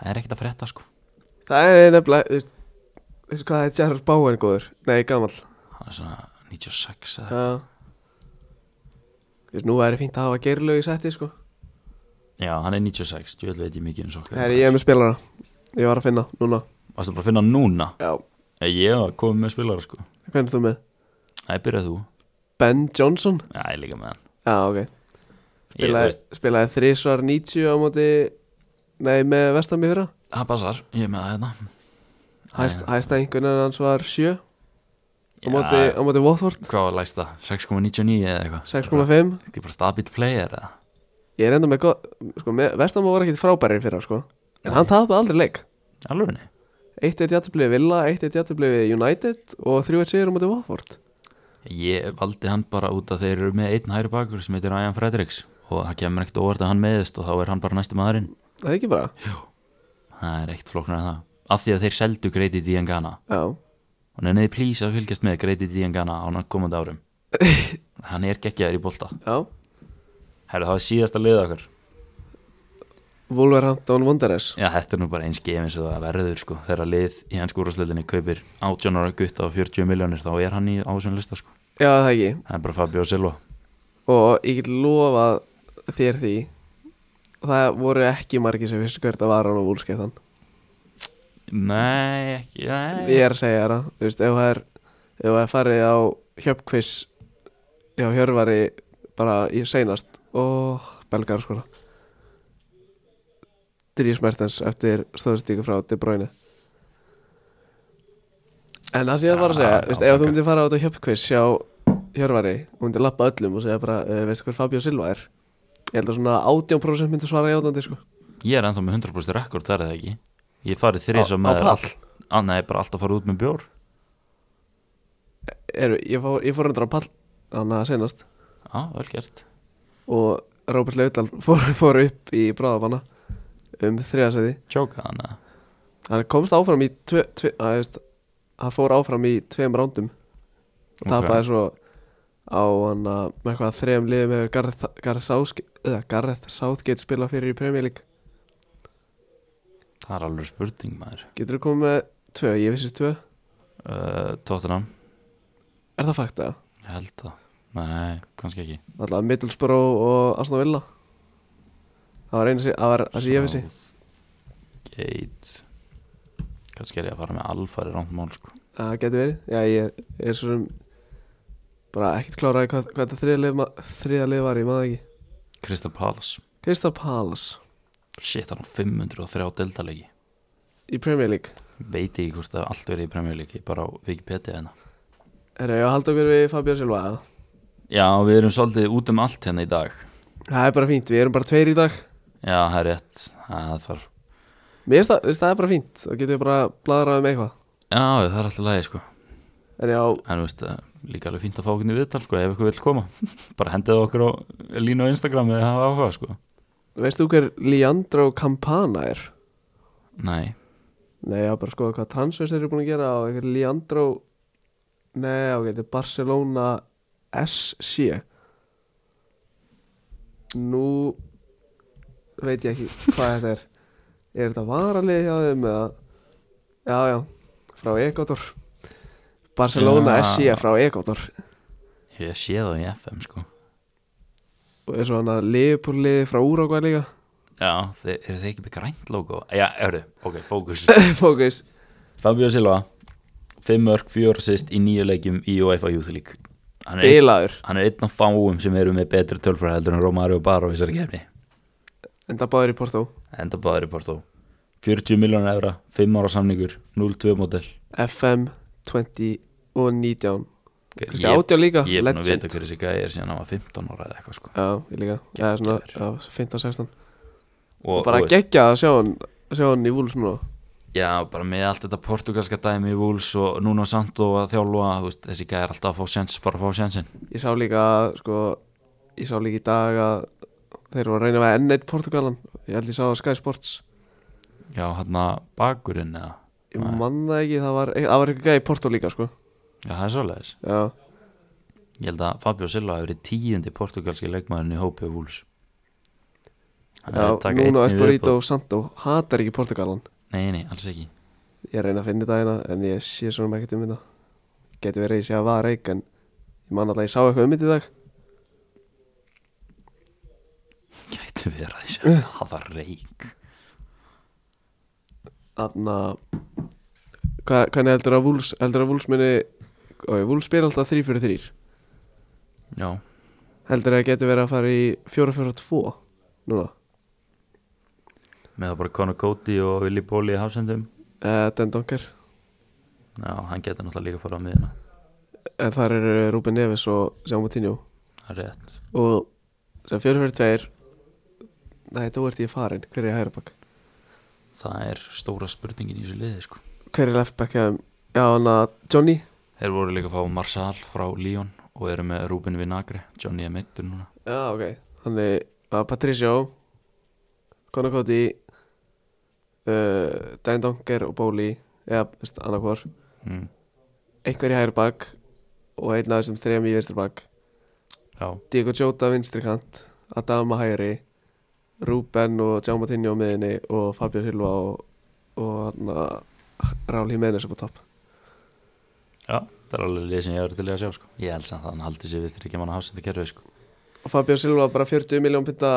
B: það er ekkert að frétta sko
A: það er nefnilega, þú veist Veistu hvað er Gerard Báen góður? Nei, gamall
B: hann er svona 96 eða
A: Já Þú veist, nú væri fínt að hafa geirlaug í setti, sko
B: já, hann er 96, ég veit ég mikið um sokka
A: Herri, ég er með spilara Ég var að finna, núna
B: varstu bara að finna hann núna
A: Já
B: Ég- ég var komin með spilara sko
A: Hvernig er þú með?
B: það byrjaði þú,
A: Ben Johnson?
B: já, ég er líka með hann
A: Já, ok
B: ég, þú
A: Spilaði,
B: veist,
A: spilaði þrísvar 90 á móti Nei, með vestam í fyrra
B: það passar, ég er með það hérna
A: Hæst, Hæsta einhvern hans var 7 á
B: Já.
A: móti, á móti Watford
B: hvað var læsta, 6,99 eða eitthvað
A: 6,5
B: þetta er bara stabilt player eða
A: Ég er enda með, gott- sko, með Vestamá var ekkit frábæri fyrir sko En hann tapaði aldrei leik
B: alveg nei,
A: 1-1 jættublið við Villa, 1-1 jættublið við United Og 3-1 sigur á móti Watford
B: ég valdi hann bara út að þeir eru með einn hæri bakur sem heitir Ian Fredericks og það kemur ekkert óvart að hann meðist og þá er hann bara næsti maðurinn
A: Það er ekki bara
B: það er ekkert flokknar en það af því að þeir seldu Grady Diangana
A: Já,
B: og nefniði plís að fylgjast með Grady Diangana á næ- komandi árum hann er geggjaður í bolta
A: já
B: Herru, það var síðasta liða okkar
A: Wolverhampton Wanderers
B: Já, þetta er nú bara eins geim eins og það verður sko þegar lið í hans úrvarsleitinni kaupir 18 ára gutta á 40 miljónir þá er hann í ásum lista sko
A: Já, það ekki
B: það er bara Fabio Silva
A: Og ég get lofað þér því Það voru ekki margir sem vissu hvert að vara hann á vúlskeptan
B: Nei, ekki, nei
A: Ég er að segja þér það Þú veist, ef það er Ef það er farið á hjöpkviss Já, hjörvari Bara í seinast Og belgar sko Dries Mertens Eftir stóðstíku frá De Bruyne En það sem ég var að
B: Já,
A: segja
B: já,
A: Þú veist, ef
B: ok.
A: þú myndir fara út á hjöpkviss Hjá hjörvari Þú myndir lappa öllum og segja bara uh, Veistu hver Fabio Silva er Ég held að svona 18% myndir svara játandi sko
B: Ég er ennþá með 100% rekord, það er það ekki Ég farið
A: Á-
B: þrýs
A: á
B: með
A: pall?
B: Á, nei, bara alltaf farið út með bjór
A: Eru, ég, fór, ég fór hendur á pall Þannig að seinast
B: Já, vel gert
A: og Róbert Laudal fór, fór upp í bráðabanna um þriðasæði
B: Tjóka hann eða?
A: hann komst áfram í tve, tve, að, veist, hann fór áfram í tveim rándum og
B: Ok.
A: tapaði svo á hann að með eitthvað þrejum liðum hefur Gareth, Gareth, Southgate, eða Gareth Southgate spila fyrir í Premier League
B: Það er alveg spurning maður
A: getur þú komið með tvö, ég vissi tvö
B: uh, Tottenham,
A: er það fakta?
B: ég held það Nei, kannski ekki
A: alltaf Middlesbrough og Aston Villa það var einu sem það var það sem ég vissi
B: Gate Kannski er ég að fara með alfari rámt mál sko
A: Það getur verið Já, ég er, ég er svo sem bara ekkert kláraði hvað, hvað þetta þriða lið, ma- þriðja lið var, ég maður ekki
B: Crystal Palace
A: Crystal Palace
B: shit, hann á 503 deltaleiki
A: í Premier League
B: veit ekki hvort það allt verið í Premier League ég er bara á Wikipedia hérna
A: Er ég að halda mér við Fabio Silva? eða?
B: já, við erum svolítið út um allt hérna í dag
A: Það er bara fínt, við erum bara tveir í dag
B: já, það er rétt það þarf,
A: Mér finnst það, þú veist, það er bara fínt Þá getum við bara bladrað um eitthvað
B: já, það er alltaf lægi sko
A: En já,
B: en þú veist, það er líka alveg fínt að fá okkur í viðtal sko, ef eitthvað vil koma bara hendið okkur á línu á Instagram eða hafa áhuga sko
A: veist þú hver Leandro Campana er?
B: nei,
A: Nei, já, bara skoða hvað transfers eru búin að gera og eitthvað Leandro Nei, ok, þetta er Barcelona SC Nú veit ég ekki hvað þetta er Er þetta varalið hjá þeim eða Já, já, frá Ekotor Barcelona
B: Já.
A: SC frá Ekotor
B: ég sé það í FM sko
A: og er svona liðbúrliði frá Úrugvæð líka
B: já, þeir, eru þeir ekki með grænt logo já, hörru, ok, fókus
A: Fókus
B: Fabio Silva 5 mörg, 4 assist í nýju leikjum í UEFA Youth League hann er,
A: Bilaður
B: hann er einn af fáum sem eru með betri tölfræði heldur en Romario Baró í þessari kefni
A: En það báður í Porto
B: enda báður í Porto 40 miljónar evra, 5 ára samningur 0-2 mótel
A: FM 20 og 19
B: ég,
A: Kannski
B: ég
A: 18 líka
B: er búin að vita
A: Legend
B: hver þessi gæði er síðan hann var 15 ára eða eitthvað sko
A: Já, ég líka Já, svona
B: Geggjaður.
A: já, 15-16
B: og,
A: Bara
B: og-
A: geggja að sjá hann Sjá hann í vúls núna
B: Já, bara með allt þetta portugalska dæmi í Vúls og núna samt og að þjálfa þú veist, þessi gæði er alltaf að fá sjens, fara að fá sjensin
A: Ég sá líka, sko Ég sá líka í dag að Þeir eru að reyna með N1 Portugalan Ég held ég sá á Sky Sports
B: Já, hann að bakurinn eða
A: Ég man það ekki, það var Það var eitthvað gæði í Porto líka, sko
B: Já, það er svoleiðis
A: Já,
B: Ég held að Fabio Silva hefur verið tíundi portugalski leikmaðurinn í hópi og vúls Hann
A: já
B: er að taka einn
A: núna
B: í
A: Esparito
B: viðbót.
A: og Santo Hatar ekki Portugalan
B: Nei, nei, alls ekki
A: Ég reyna að finna þetta hérna en ég sé svona ekkert um þetta Geti verið að ég sé að var reik en ég man alltaf að ég sá eitthvað um þetta í dag
B: Gæti verið að þessi
A: Uh.
B: hafa reik
A: Þannig að hvernig heldur að Vúls heldur að Vúls minni og Vúls spila alltaf 3 fyrir 3
B: Já,
A: heldur að geti verið að fara í 4 fyrir 2 núna
B: með það bara Conor Cody og Willi Póli í hafsendum
A: uh, Dendonker
B: Já, hann geti náttúrulega líka að fara á miðina
A: en þar eru Rúben Neves og Sjá Moutinho
B: Það er rétt
A: og sem 4 fyrir 2 nei þá ert ég farin hver er í hægra bakk
B: Það er stóra spurningin í þessu liði sko
A: hver er left back hjá þeim? já hann að Johnny
B: Þeir voru líka að fá Marsal frá Lyon og eru með Ruben Vinagre Johnny er meittur núna
A: já ok hann er að Patricio Conor Cody uh, Dendonker og Bóli eða annarkvor
B: mm.
A: einhver í hægri bak og einn af þessum þrejum í vinstri bak
B: Já,
A: Diego Jota vinstri kant Adama hægri Ruben og Jaume Tinjó miðinni og Fabio Silva og, og hann að Rál Jiménez upp á topp
B: Já, það er alveg lið sem ég hefur til í að sjá sko. Ég held samt að hann haldi sér við þegar ekki manna hafsenda kerfi sko.
A: og Fabio Silva bara 40 miljón pinta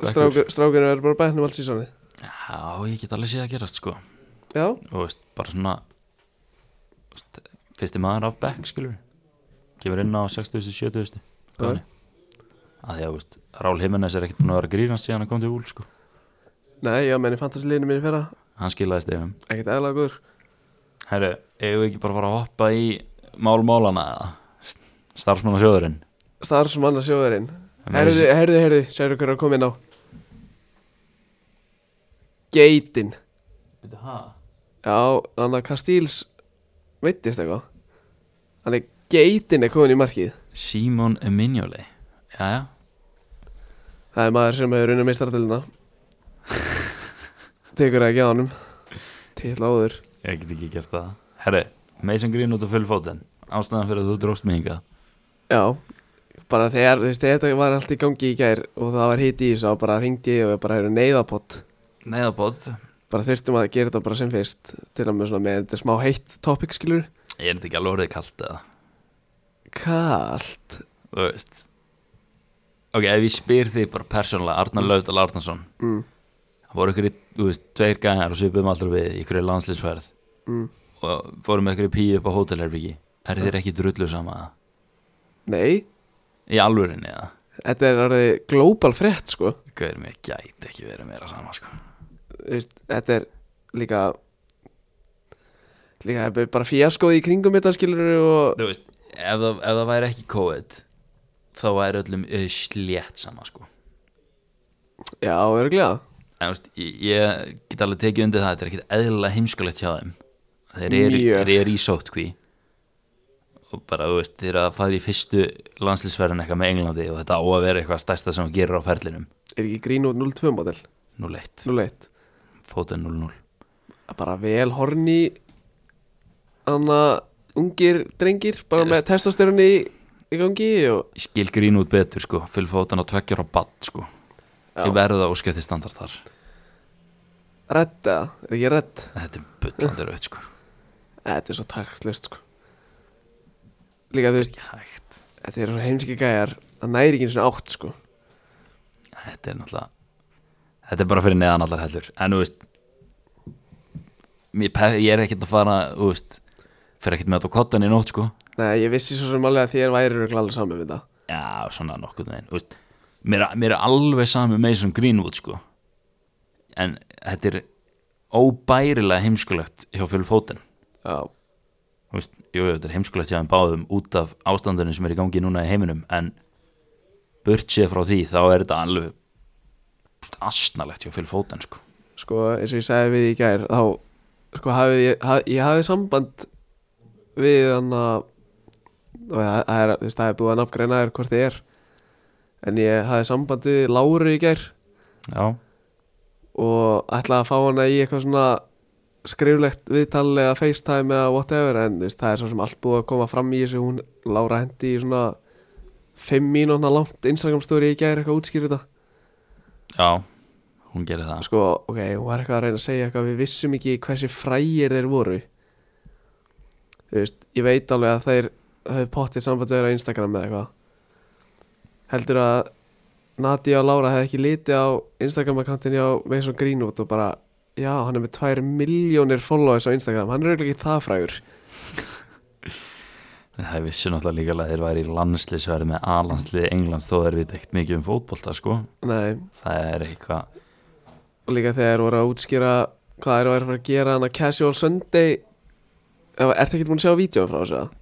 B: Bekkur.
A: strákurinn er bara bæknum allt sísoni
B: Já, ég get alveg séð að gerast sko.
A: já,
B: og veist, bara svona veist, fyrsti maður af back skilur kemur inn á 60-70
A: Já.
B: að því að veist, Rál Jimenez er ekkert búin að vera að grínast síðan að kom til úl sko.
A: nei, já, menn í fantasiliðinu minni fyrra
B: hann skilaði stefum
A: ekkert eðla góður
B: Herru, eigum við ekki bara að fara að hoppa í málmálana eða starfsmannasjóðurinn
A: starfsmanna um sjóðurinn
B: En maður-
A: herðu, herðu, herðu, sérðu hver er að koma inn á Geitin Já, þannig að Kastíls veittist eitthvað Þannig geitin er komin í markið
B: Simon Emignoli Jæja,
A: Það er maður sem hefur unnum meistaradelina Tekur ekki á honum Til áður
B: ég get ekki gert það Herru, Mason Green út á full fótinn ástæðan fyrir að þú dróst mig hingað
A: Já, bara þegar, þú veist, þegar þetta var allt í gangi í gær Og það var hitt í þessu og bara hringdi ég og ég bara hefur neyðapott
B: Neiðabóð,
A: Bara þurftum að gera þetta bara sem fyrst Til að með svona með þetta smá heitt topic skilur
B: ég er þetta ekki alveg orðið kalt eða
A: Kalt
B: þú veist ok, ef ég spyr þig bara persónulega Arnar Laudal Arnarsson
A: mm,
B: það voru ykkur, í, þú veist, tveir gæjar og svipuðum aldrei við í ykkur landslýsferð
A: mm.
B: og fórum með ykkur píu upp á hótelherbyggi er þér ekki drullu sama það?
A: Nei,
B: í alvörinni eða?
A: þetta er orðið global frétt sko
B: Gauður mér gæti ekki verið meira sama sko.
A: Þú veist, þetta er líka líka þetta er bara fíaskoð í kringum þetta skilur og
B: Þú veist, ef það, ef það væri ekki COVID þá væri öllum uh, slétt sama sko.
A: já, örglega
B: en, þú veist, ég, ég get alveg tekið undir það þetta er ekkit eðlilega heimskulegt hjá þeim þeir eru,
A: Mjög.
B: þeir eru í sótkví og bara, þú veist, þeir eru að fara í fyrstu landslýsferðin eitthvað með Englandi og þetta á að vera eitthvað stærsta sem þú gerir á ferlinum
A: er ekki grín og 02 model
B: 0-1,
A: 01
B: fótið 0-0
A: bara vel horni anna ungir drengir bara með
B: Just.
A: testastörunni í, í gangi og
B: Ég skil grín út betur sko, fyll fótið á tveggjur á bad sko,
A: Já.
B: ég verða óskjöti standart þar
A: redd eða, er ekki redd
B: þetta er bullandi raut sko,
A: þetta er svo taktlust sko líka þú veist,
B: ekki hægt
A: þetta er svo heimski gæjar það næri ekki eins og átt sko
B: þetta er náttúrulega þetta er bara fyrir neðan allar hellur en þú veist mér, pe- ég er ekkert að fara þú veist, fyrir ekkert með þetta á kottan í nótt sko
A: Nei, ég vissi svo sem alveg að þér væri örugglega alveg saman við það
B: já, svona nokkuð neginn veist, mér, er- mér er alveg sami með þessum Greenwood sko en þetta er óbærilega heimskulegt hjá fyrir fótinn
A: Já,
B: Þú veist, jú, jú, þetta er heimskulegt hjá þeim báðum út af ástandunum sem er í gangi núna í heiminum en burtsið frá því þá er þetta alveg asnalegt hjá fyrir fótinn sko
A: sko eins og ég sagði við í gær þá sko hafið ég, haf, ég hafið samband við hann að og það það er, þú veist, það er búið að nafngreina þér hvort þið er en ég hafið samband við Láru í gær
B: já
A: og ætlaði að fá hana í eitthvað svona skriflegt viðtal eða FaceTime eða whatever en þú veist, það er svo sem allt búið að koma fram í þessu hún Lára hendi í svona 5 mínúna langt Instagram story í gær eitthvað útskýrði þetta
B: Já, hún gerir það
A: sko, ok, hún var eitthvað að reyna að segja eitthvað við vissum ekki hversi frægir þeir voru þú veist, ég veit alveg að þeir höfðu pottið samband þeirra á Instagram eða eitthvað heldur að Nadia og Lára hefði ekki litið á Instagram-akkantin hjá Mason Greenwood og bara, já, hann er með 2 miljónir followers á Instagram, hann er auðvitað ekki það frægur
B: En það vissi náttúrulega líka að þeir væri í landslisverð með A-landsliði Englands þó er við ekkert mikið um fótbolta sko
A: nei,
B: Það er eitthvað
A: og líka þegar þeir voru að útskýra hvað þeir eru að fara að gera hann að Casual Sunday Ef- ertu ekki búin að sjá vídeo frá þessu? eða?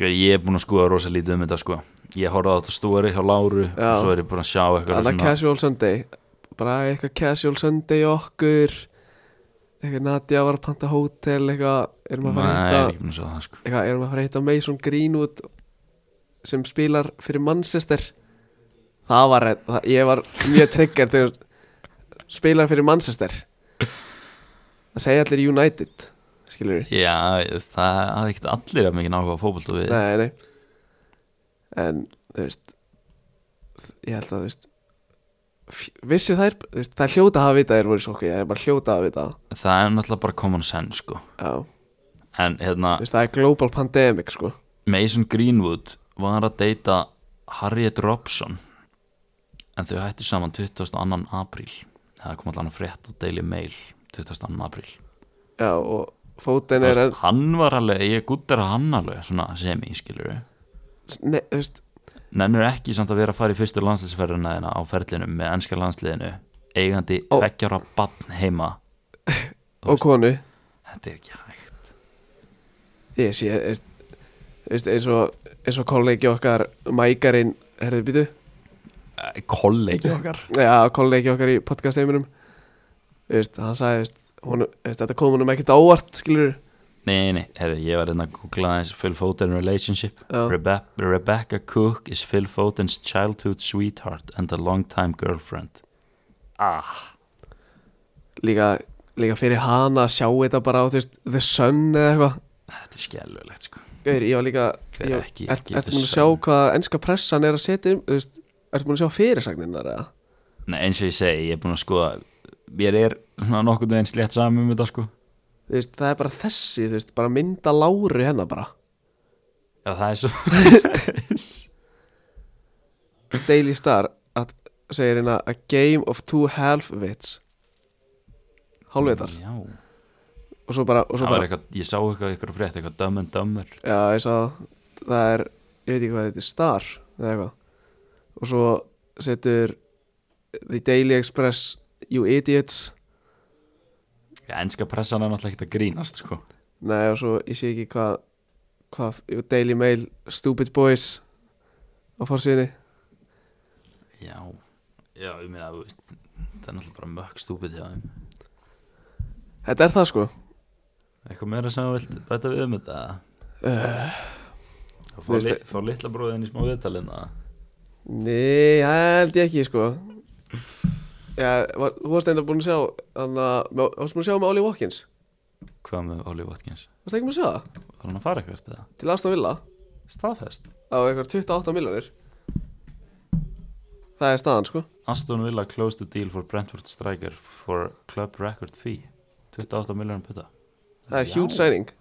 B: Gauð, Ég er búin að skoða rosa lítið um þetta sko Ég horfði á þetta stóri hjá Láru
A: Já.
B: og svo er ég búin að sjá eitthvað
A: Þannig
B: svona
A: casual sunday Bara eitthvað casual sunday í okkur Eitthvað Nadia var að panta hótel Eitthvað erum að
B: Nei,
A: fara að
B: ég er
A: hitta
B: ekki búin að sjá það sko
A: Eitthvað erum að fara að hitta Mason Greenwood Sem spilar fyrir Manchester Það var það, Ég var mjög trigger þegar Spilar fyrir Manchester Það segja allir United Skilur við
B: Já, ég veist, það hafði ekkert allir að mikið náhuga fótbolta við
A: Nei, nei En, þú veist Ég held að, þú veist f- Vissu þær, þú veist, þær hljóta að hafa vitað þær voru í sokki, það er bara hljóta að vita það.
B: Það er náttúrulega bara common sense sko
A: Já,
B: En hérna,
A: þú veist, það er global pandemic, sko
B: Mason Greenwood var að deyta Harriet Robson en þau hættu saman 22. apríl það kom allan að frétt og deili mail 22. apríl
A: Já, og fótinn er
B: Nei,
A: en,
B: hann var alveg, ég guttar að hann alveg svona semi, skilur við
A: ne, Þú veist,
B: nennur ekki samt að vera að fara í fyrstu landsliðsferðina þina á ferlinum með ennska landsliðinu eigandi
A: Ó.
B: tveggjara bann heima
A: og konu
B: þetta er ekki hægt
A: Ég sé, þú veist, þú veist eins og, eins og kollegi okkar Mækarinn, herðu býtu
B: Eh, kollegi okkar
A: Já, kollegi okkar í podcasteiminum Þú veist, hann sagði, þú veist, honum, þú veist Þetta kom honum ekkert á óvart, skilur
B: Nei, nei, herri, ég var hérna að googla aðeins Phil Foden relationship
A: Já.
B: Rebe Rebecca Cook is Phil Foden's childhood sweetheart and a longtime girlfriend Ah
A: líka, líka fyrir hana að sjá þetta bara á þú veist, The Sun eða eitthvað
B: Þetta er skelvilegt sko
A: Gauður, ég var líka
B: Gaur,
A: ég, var-
B: ekki-
A: ert-
B: ekki
A: Ertu
B: The
A: múin að sjá
B: Sun.
A: hvað ennska pressan er að setja um, þú veist, Ertu múin að sjá fyrirsagninnar eða?
B: Nei, eins og ég segi, ég er búin að skoða Mér er svona nokkuð veginn slétt saman um þetta sko
A: Þú veist, það er bara þessi, þú veist, bara mynda láru hennar bara
B: Já, það er svo
A: Daily Star að, segir hérna A game of two half-wits Hálfvitar
B: Já,
A: Og svo bara, og svo
B: það var
A: bara
B: eitthvað, ég sá eitthvað eitthvað frétt, eitthvað dumb and dumber
A: Já, ég sá það er, ég veit ekki hvað þetta er Star eða eitthvað Og svo setur The Daily Express You Idiots
B: Já, enska pressan er náttúrulega ekkert að grínast sko.
A: Nei og svo ég sé ekki hvað hva, Daily Mail Stupid Boys á fórsíðinni
B: Já, já, ég meina þú veist Það er náttúrulega bara mökk stúpid hjá þeim
A: Þetta er það sko
B: Eitthvað meira sem þú vilt bæta við um þetta Þá fá,
A: Eh. veist
B: li,
A: það-
B: fá litla bróðin í smá hérna. viðtalina
A: Nei, það held ég ekki sko Já, var, þú varst einnig búin að sjá Þannig að, varst búin að sjá með Ollie Watkins
B: Hvað með Ollie Watkins?
A: Varst ekki búin að sjá það?
B: Var hann að fara eitthvað eða?
A: Til Aston Villa
B: Staðfest
A: á eitthvað 28 miljonir Það er staðan sko
B: Aston Villa closed the deal for Brentford striker for club record fee 28 miljónum putta
A: Það er
B: Já.
A: huge signing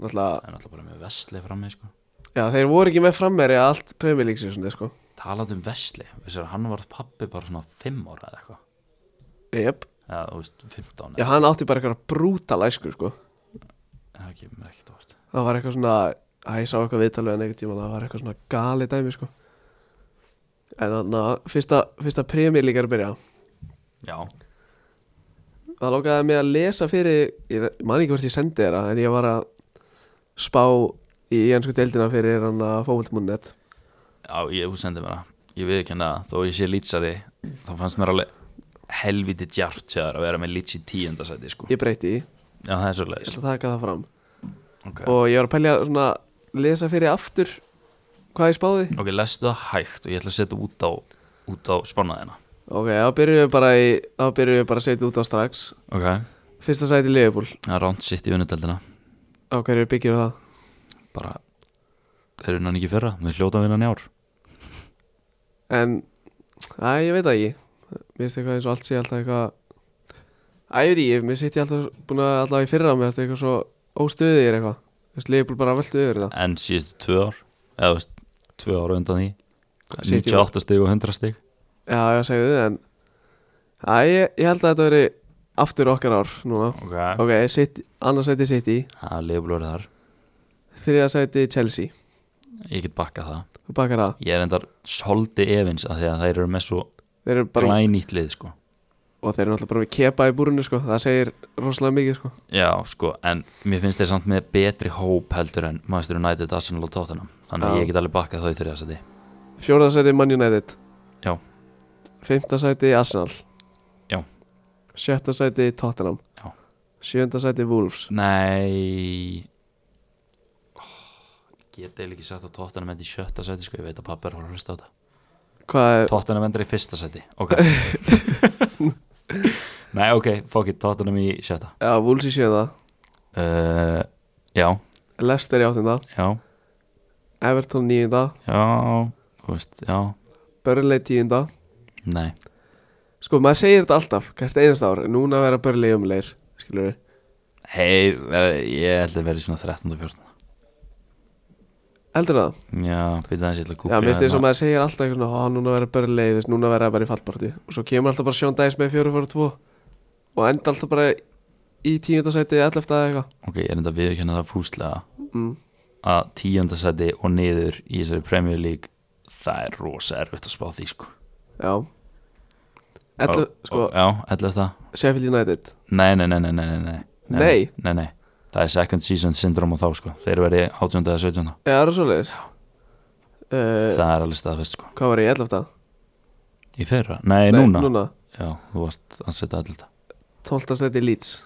A: Náttúrulega,
B: Það er náttúrulega bara með Vesli frammi sko
A: já þeir voru ekki með frammeri að allt Premier League season sko
B: Talandi um Vesli, þess að hann var pappi bara svona 5 ára eða eitthvað
A: Jep,
B: eða þú veist 15
A: já hann átti bara eitthvað brútal æsku sko
B: það kemur mér ekkert óvart
A: Það var eitthvað svona, að ég sá eitthvað viðtal við hann einhvern tímann Það var eitthvað svona gali dæmi sko En þannig að fyrsta, fyrsta Premier League er að byrja
B: já,
A: Það lókaði mig að lesa fyrir Ég man ekki hvort ég sendi þér það En ég var að spá í ennsku deildina fyrir hann að fókvöldmunnet
B: já, ég, þú sendið mér það ég viðkynna það, þó ég sé lýtsari þá fannst mér alveg helviti djart þegar að vera með lýts í tíundasæti sko. já,
A: Ég breyti í, ég
B: það er svolítið
A: ætla að taka það fram
B: okay.
A: Og ég var að pælja svona Lesa fyrir aftur Hvað ég spáði
B: ok, lestu það hægt og ég ætla að setja út á út á spannaðina
A: Ok, þá byrjum við bara, í, þá byrjum við bara að setja út á strax
B: ok,
A: Fyrsta sæti Leifbúl
B: það er ránt sitt í vinnudeldina
A: Á hverju byggir það?
B: bara, þeir eru hann ekki í fyrra við hljóta að vinna hann í ár
A: En, æ, ég veit það ekki Mér finnst eitthvað eins og allt sé alltaf eitthvað Æ, ég veit ekki, mér sitt ég alltaf búin að alltaf í fyrra Mér finnst eitthvað svo óstöðir eitthvað Þú veist, Leifbúl bara veltu yfir það
B: en síðustu tvö ár eða þú veist, tvö ár á undan því
A: City
B: 98 stig og 100 stig
A: Já, ég segið þið, en Æ, ég, ég held að þetta veri aftur okkar ár núna
B: ok,
A: Ok, sitt, annars sæti City
B: það er leifblóður þar
A: Þriða sæti Chelsea
B: ég get bakkað það
A: Þú bakar það
B: Ég er endar svolítið efins að því að þær eru með svo
A: Þeir eru bara
B: glænýtt lið sko.
A: og þeir eru náttúrulega bara við kepa í búrinu sko. það segir rosalega mikið sko.
B: Já, sko, en mér finnst þeir samt með betri hóp heldur en Manchester United, Arsenal og Tottenham Þannig
A: Já.
B: að ég get alveg bakkað þá í þriða seti
A: fjórðasæti Man United
B: Já.
A: fymtasæti Arsenal
B: Já.
A: sjöttasæti Tottenham
B: Já.
A: sjöndasæti Wolves
B: Nei oh, Get eða ekki sagt að Tottenham endur í sjötta seti sko, ég veit að pappi er að fara að hlusta á þetta
A: hvað er
B: Tottenham endur í fyrsta seti, ok Nei, ok, fuck it, Tottenham í sjötta
A: já, Wolves í sjönda
B: uh, Já,
A: Leicester í áttunda
B: já,
A: Everton nýjunda
B: já, þú veist, já,
A: Burnley tíunda
B: nei
A: sko maður segir þetta alltaf hvert einast ár en núna vera Burnley umleir skilur við
B: Hei, ver- ég held að vera í svona 13. og 14.
A: heldur það
B: Já, býta aðeins, ég ætla að
A: já,
B: googla
A: mér finnst þess að
B: hérna.
A: maður segir alltaf eitthvað svona, "Ó, núna vera Burnley þess núna vera bara í fallborti og svo kemur alltaf bara Sean Dice með 4-4-2 og enda alltaf bara í tíundasæti 11 eða eitthvað
B: Ok, ég er enda að viðkjöna það fúslega
A: mm.
B: að tíundasæti og niður í þessari Premier League það er rosa erfitt að spá því sko
A: Já Ætla,
B: Og-
A: sko,
B: og- Já, ætla það
A: Sheffield United
B: Nei, nei, nei, nei, nei, nei
A: Nei?
B: Nei, nei Það er second season syndrom á þá sko Þeir verði 18. eða 17.
A: Já, það er svoleiðis uh,
B: Það er alveg staðfest sko
A: Hvað var ég, 11?
B: Í fyrra? Nei, núna
A: núna
B: Já, þú varst að setja alltaf
A: 12. stæti Leeds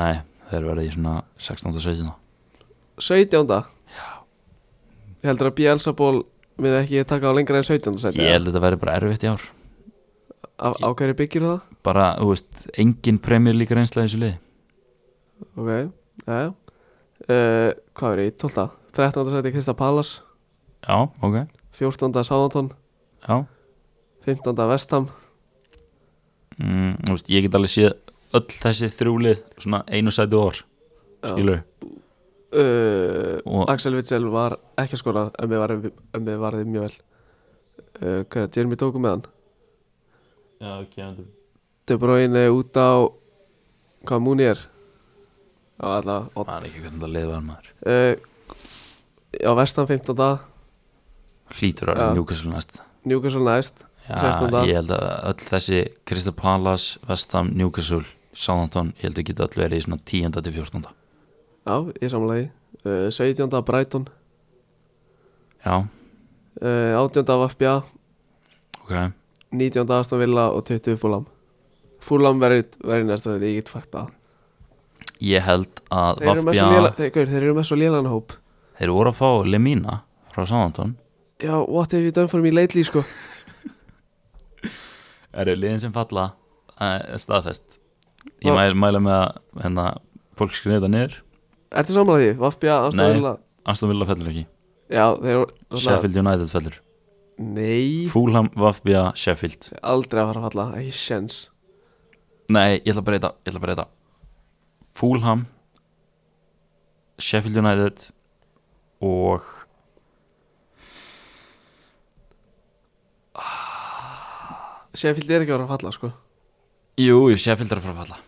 B: Nei, þeir verði í svona 16. og 17.
A: 17. Já Heldur að Bielsa ból minn ekki taka á lengra en 17. stæti
B: Ég held að þetta verði bara erfitt í ár
A: Af- Á hverju byggir það?
B: bara, þú veist, engin Premier League reynsla í þessu liði
A: Ok, já uh, Hvað var ég, 12. 13. stæti Krista Pallas
B: Já, ok,
A: 14. Southampton
B: já
A: 15. Vestham
B: mm, Þú veist, ég get alveg séð öll þessi þrjúlið svona einu sæti og orð
A: Já.
B: skilur,
A: uh,
B: Og-
A: Axel Witzel var ekki að skora en við varðið var þið mjög vel uh, Hver er Jeremy tóku með hann?
B: já, okay, andur.
A: De Bruyne út á hvað Múni er á alltaf
B: Það er ekki hvernig það lið var maður
A: uh, á vestan 15.
B: Hlýtur
A: Já.
B: að njúkast fyrir næst
A: Newcastle næst 16.
B: ég held að öll þessi Crystal Palace, Vestham, Newcastle Southampton, ég held að geta öll verið í svona 10. til 14.
A: Já, ég samlaði uh, 17. af Brighton
B: Já,
A: uh, 18. af FBA
B: ok
A: 19. af Aston Villa og 20. Fúlam Fúlam verið, verið næsta þetta, ég get fakta það.
B: Ég held að
A: þeir, eru með svo
B: Vafbja,
A: léla- þeir, gaur, þeir eru með svo lélan hóp
B: þeir voru að fá Lemina frá Southampton
A: Já, what have you done for me lately sko
B: eru liðin sem falla eh, staðfest ég
A: Já.
B: mæl, mæla með að hérna, fólk skrifa þetta niður
A: Ertu samlaði því? Vafbja, Aston
B: Nei.
A: Villa
B: Aston Villa fellur ekki,
A: Já, þeir eru
B: Sheffield United fellur
A: Nei,
B: Fulham, Vafbja, Sheffield
A: aldrei að fara að falla, ekki sjens
B: nei, ég ætla að breyta, ég ætla að breyta Fulham Sheffield United og
A: Sheffield er ekki að fara að falla sko
B: jú, jú, Sheffield er að fara að falla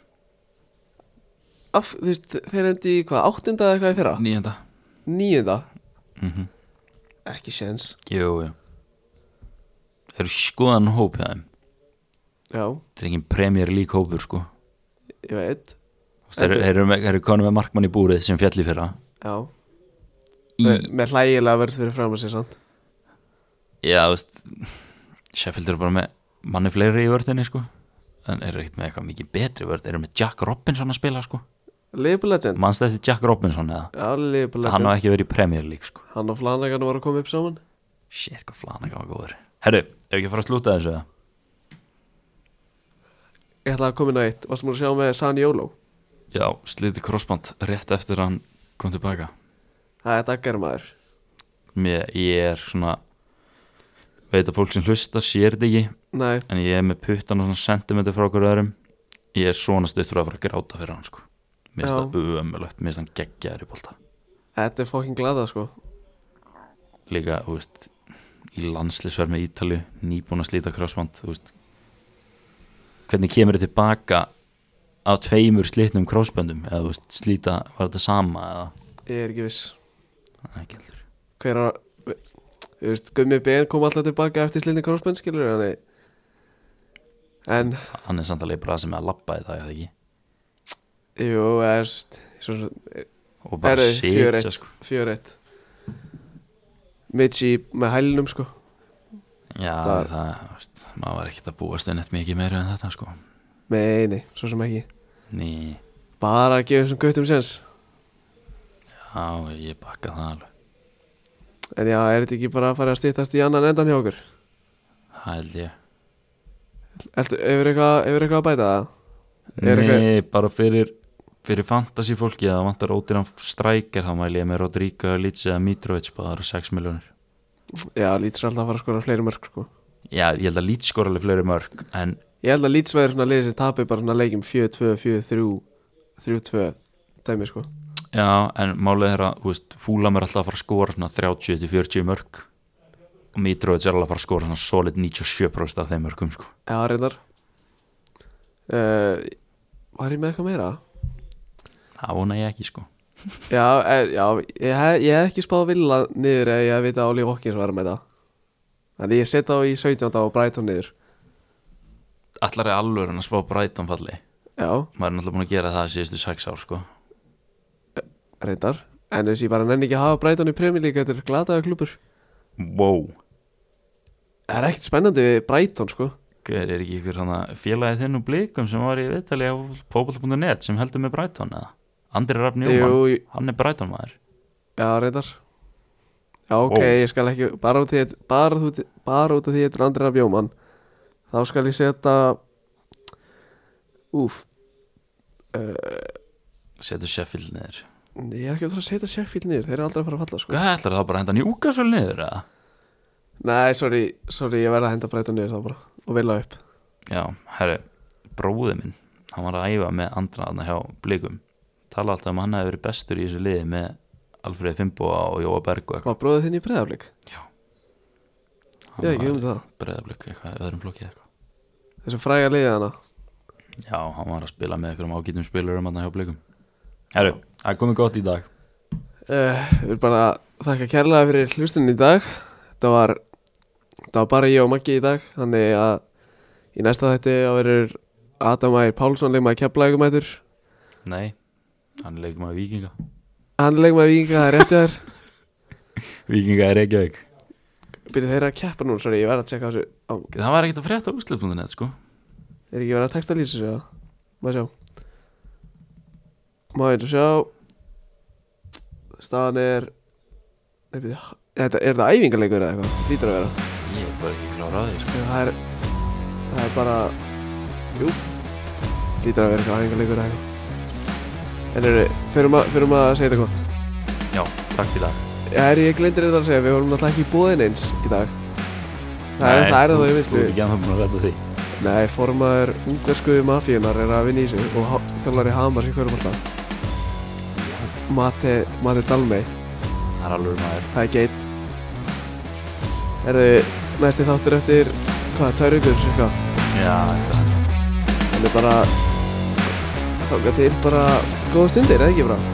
A: Af, þú veist, þeir endi í hvað, áttunda eða eitthvað í fyrra?
B: nýjönda
A: Níunda,
B: mm
A: ekki sjens
B: jú, jú þeir eru skoðan hóp hjá þeim
A: Já,
B: þeir eru engin Premier League hópur sko
A: ég veit
B: Þú veist, þeir eru- þeir eru með- þeir eru konum með markmann í búrið sem fjalli fyrra
A: Já,
B: í
A: með, með hlægilega verð fyrir fram að sér sant
B: Já, þú veist Sheffield eru bara með manni fleiri í vörðinni sko en eru ekkert með eitthvað mikið betri vörð eru með Jack Robinson að spila sko
A: Liverpool Legend
B: mannst eftir Jack Robinson eða
A: Já, Liverpool
B: hann
A: Legend
B: á ekki verið í Premier League sko
A: Hann og Flanagan voru að koma upp saman
B: Shit, hvað flana gaf að góður Herru, ef ekki að fara að slúta þessu eða
A: Ég ætla að koma inn á eitt Varstum að sjá með San Jolo
B: Já, sliti crossband rétt eftir að hann kom tilbaka
A: Það er daggar maður
B: Mér, ég er svona veit að fólk sem hlustar sér þetta ekki
A: Nei,
B: en ég er með puttan og svona sentimentur frá okkur öðrum ég er svona stuttur að fara að gráta fyrir hann sko
A: Já.
B: Mér finnst það ömulegt, mér finnst hann geggjaður í bolta
A: þetta er fokkin glada sko
B: líka, þú veist í landslisverð með Ítalju, nýbúin að slíta crossband, þú veist hvernig kemur þið tilbaka af tveimur slitnum crossböndum eða þú veist, slíta, var þetta sama eða,
A: Ég er ekki viss
B: Nei, ekki heldur
A: Hver að Þú veist, Gummi BN kom alltaf tilbaka eftir slindi crossbend skilur Þannig En,
B: hann er samt alveg bara sem að labba í dag, eða ekki
A: jú, eða þú veist Svo sem
B: og bara
A: Herðu,
B: sitja,
A: 4-1.
B: sko
A: fjör eitt Mitchi með hælnum sko
B: já,
A: Það-
B: það, þú veist, maður var ekkert að búast við neitt mikið meira en þetta, sko
A: Nei, nei, svo sem ekki
B: ný,
A: Bara að gefa þessum gautum sens
B: já, ég bakka það alveg
A: En já, er þetta ekki bara að fara að stýttast í annan endan hjá okkur?
B: það held ég
A: Ertu, hefur eitthvað, hefur eitthvað að bæta það? Er
B: Nei,
A: eitthvað-
B: bara fyrir fyrir fantasy fólki að það vantar ódýran strækir þá mæli ég með Rodrigo Litsi eða Mitrovic bara 6 miljónir
A: Já, Leeds er alltaf að fara að skora fleiri mörg sko
B: Já, ég held að Litsi skora alveg fleiri mörg en
A: Ég held að Leeds verður svona liðið sem tapir bara svona leikjum 4-2, 4-3, 3-2 dæmi sko
B: já, en málið er að þú veist, Fúlam er alltaf að fara að skora svona 30-40 mörg og Mitrovic er alveg að fara að skora svona solid 97% af þeim mörgum sko.
A: Já, reyndar uh, Var ég með eitthvað meira?
B: það vona ég ekki sko
A: Já, e, já ég, hef, ég hef ekki spáð vilja niður eða ég veit að Oli Hawkins var með það Þannig ég setja á í 17. og Brighton niður
B: Allar er alveg en að spá Brighton falli
A: Já,
B: maður er náttúrulega búin að gera það síðustu 6 ár sko.
A: reyndar En þess ég bara nenni ekki að hafa Brighton í premjölíka Þetta er glataða klubur
B: wow,
A: Það er ekkert spennandi við Brighton sko
B: Hver er ekki ykkur hana, félagið þinn og blikum sem var í viðtali á fókbalt.net sem heldur með Brighton eða? Andri Rafn Jóman,
A: Jú,
B: hann er Brighton maður
A: já reyndar Já ok,
B: Ó.
A: ég skal ekki bara út, því, bara, út, bara út af því þetta er Andrið af Jóman Þá skal ég setja Úf
B: Setur Sheffield niður
A: Ég er ekki að fara að setja Sheffield niður Þeir eru aldrei að fara að falla sko
B: Hvað ætlar það bara að henda Newcastle niður eða?
A: Nei, sorry, sorry, ég verð að henda Brighton niður þá bara Og vilja upp
B: Já, herri, bróði minn hann var að æfa með andra þarna hjá blikum tala alltaf um að hann hefði verið bestur í þessu liði með Alfreð Fimboa og Jóa Berg og
A: Hvað bróðið þinn í breyðaflik?
B: eitthvað
A: Ég hef ekki um það
B: breðablik eitthvað, í öðrum flokki eða eitthvað
A: Þessu fræga liðið hana
B: Já, hann var að spila með eitthvað ágætum spilurum hann hjá blikum Herri, það er komið gott í dag
A: Eh, uh, Við erum bara að þakka kærlega fyrir hlustin í dag Þetta var það var bara ég og Maggi í dag þannig að í næsta þætti þá verður Adam Ægir Pálsson leikmaði keflaugumætur
B: Nei, hann er leikum að vikinga
A: hann er leikmaði vikinga, það er réttið þær
B: Vikinga er Reykjavík
A: byrju þeirra að keppa núna, sorry, ég verð að tjekka þessu á,
B: Það var ekkert að frétta á úslöfbúndinett sko
A: er ekki verið að texta lýsa sér má sjá má ég sjá staðan er Nei, byrju, ha- þetta, er það æfingarleikur eða eitthvað, Það hlýtur að vera
B: Ég er bara ekki klára á því sko
A: það er, það er bara jú, hlýtur að vera eitthvað æfingarleikur eða eitthvað en eru, förum að, förum að segja þetta gott
B: Já, takk fyrir það
A: Já, er ég glindir þetta að segja, við vorum náttúrulega ekki í búðin eins í dag Það er það, er það í
B: Þú
A: vinslu
B: er ekki að það búin að ræta því
A: Nei, formaður ungarskuði mafíunar er að vinna í sig og há- þjálfari Hamar sem hverjum alltaf Mate, Mate Dalmey,
B: Það er alveg maður
A: það er geit Erðu næsti þáttur eftir, hvað, tvær vikur, cirka
B: Já, þetta
A: Þannig bara, þáka til bara góða stundir, eða ekki bara?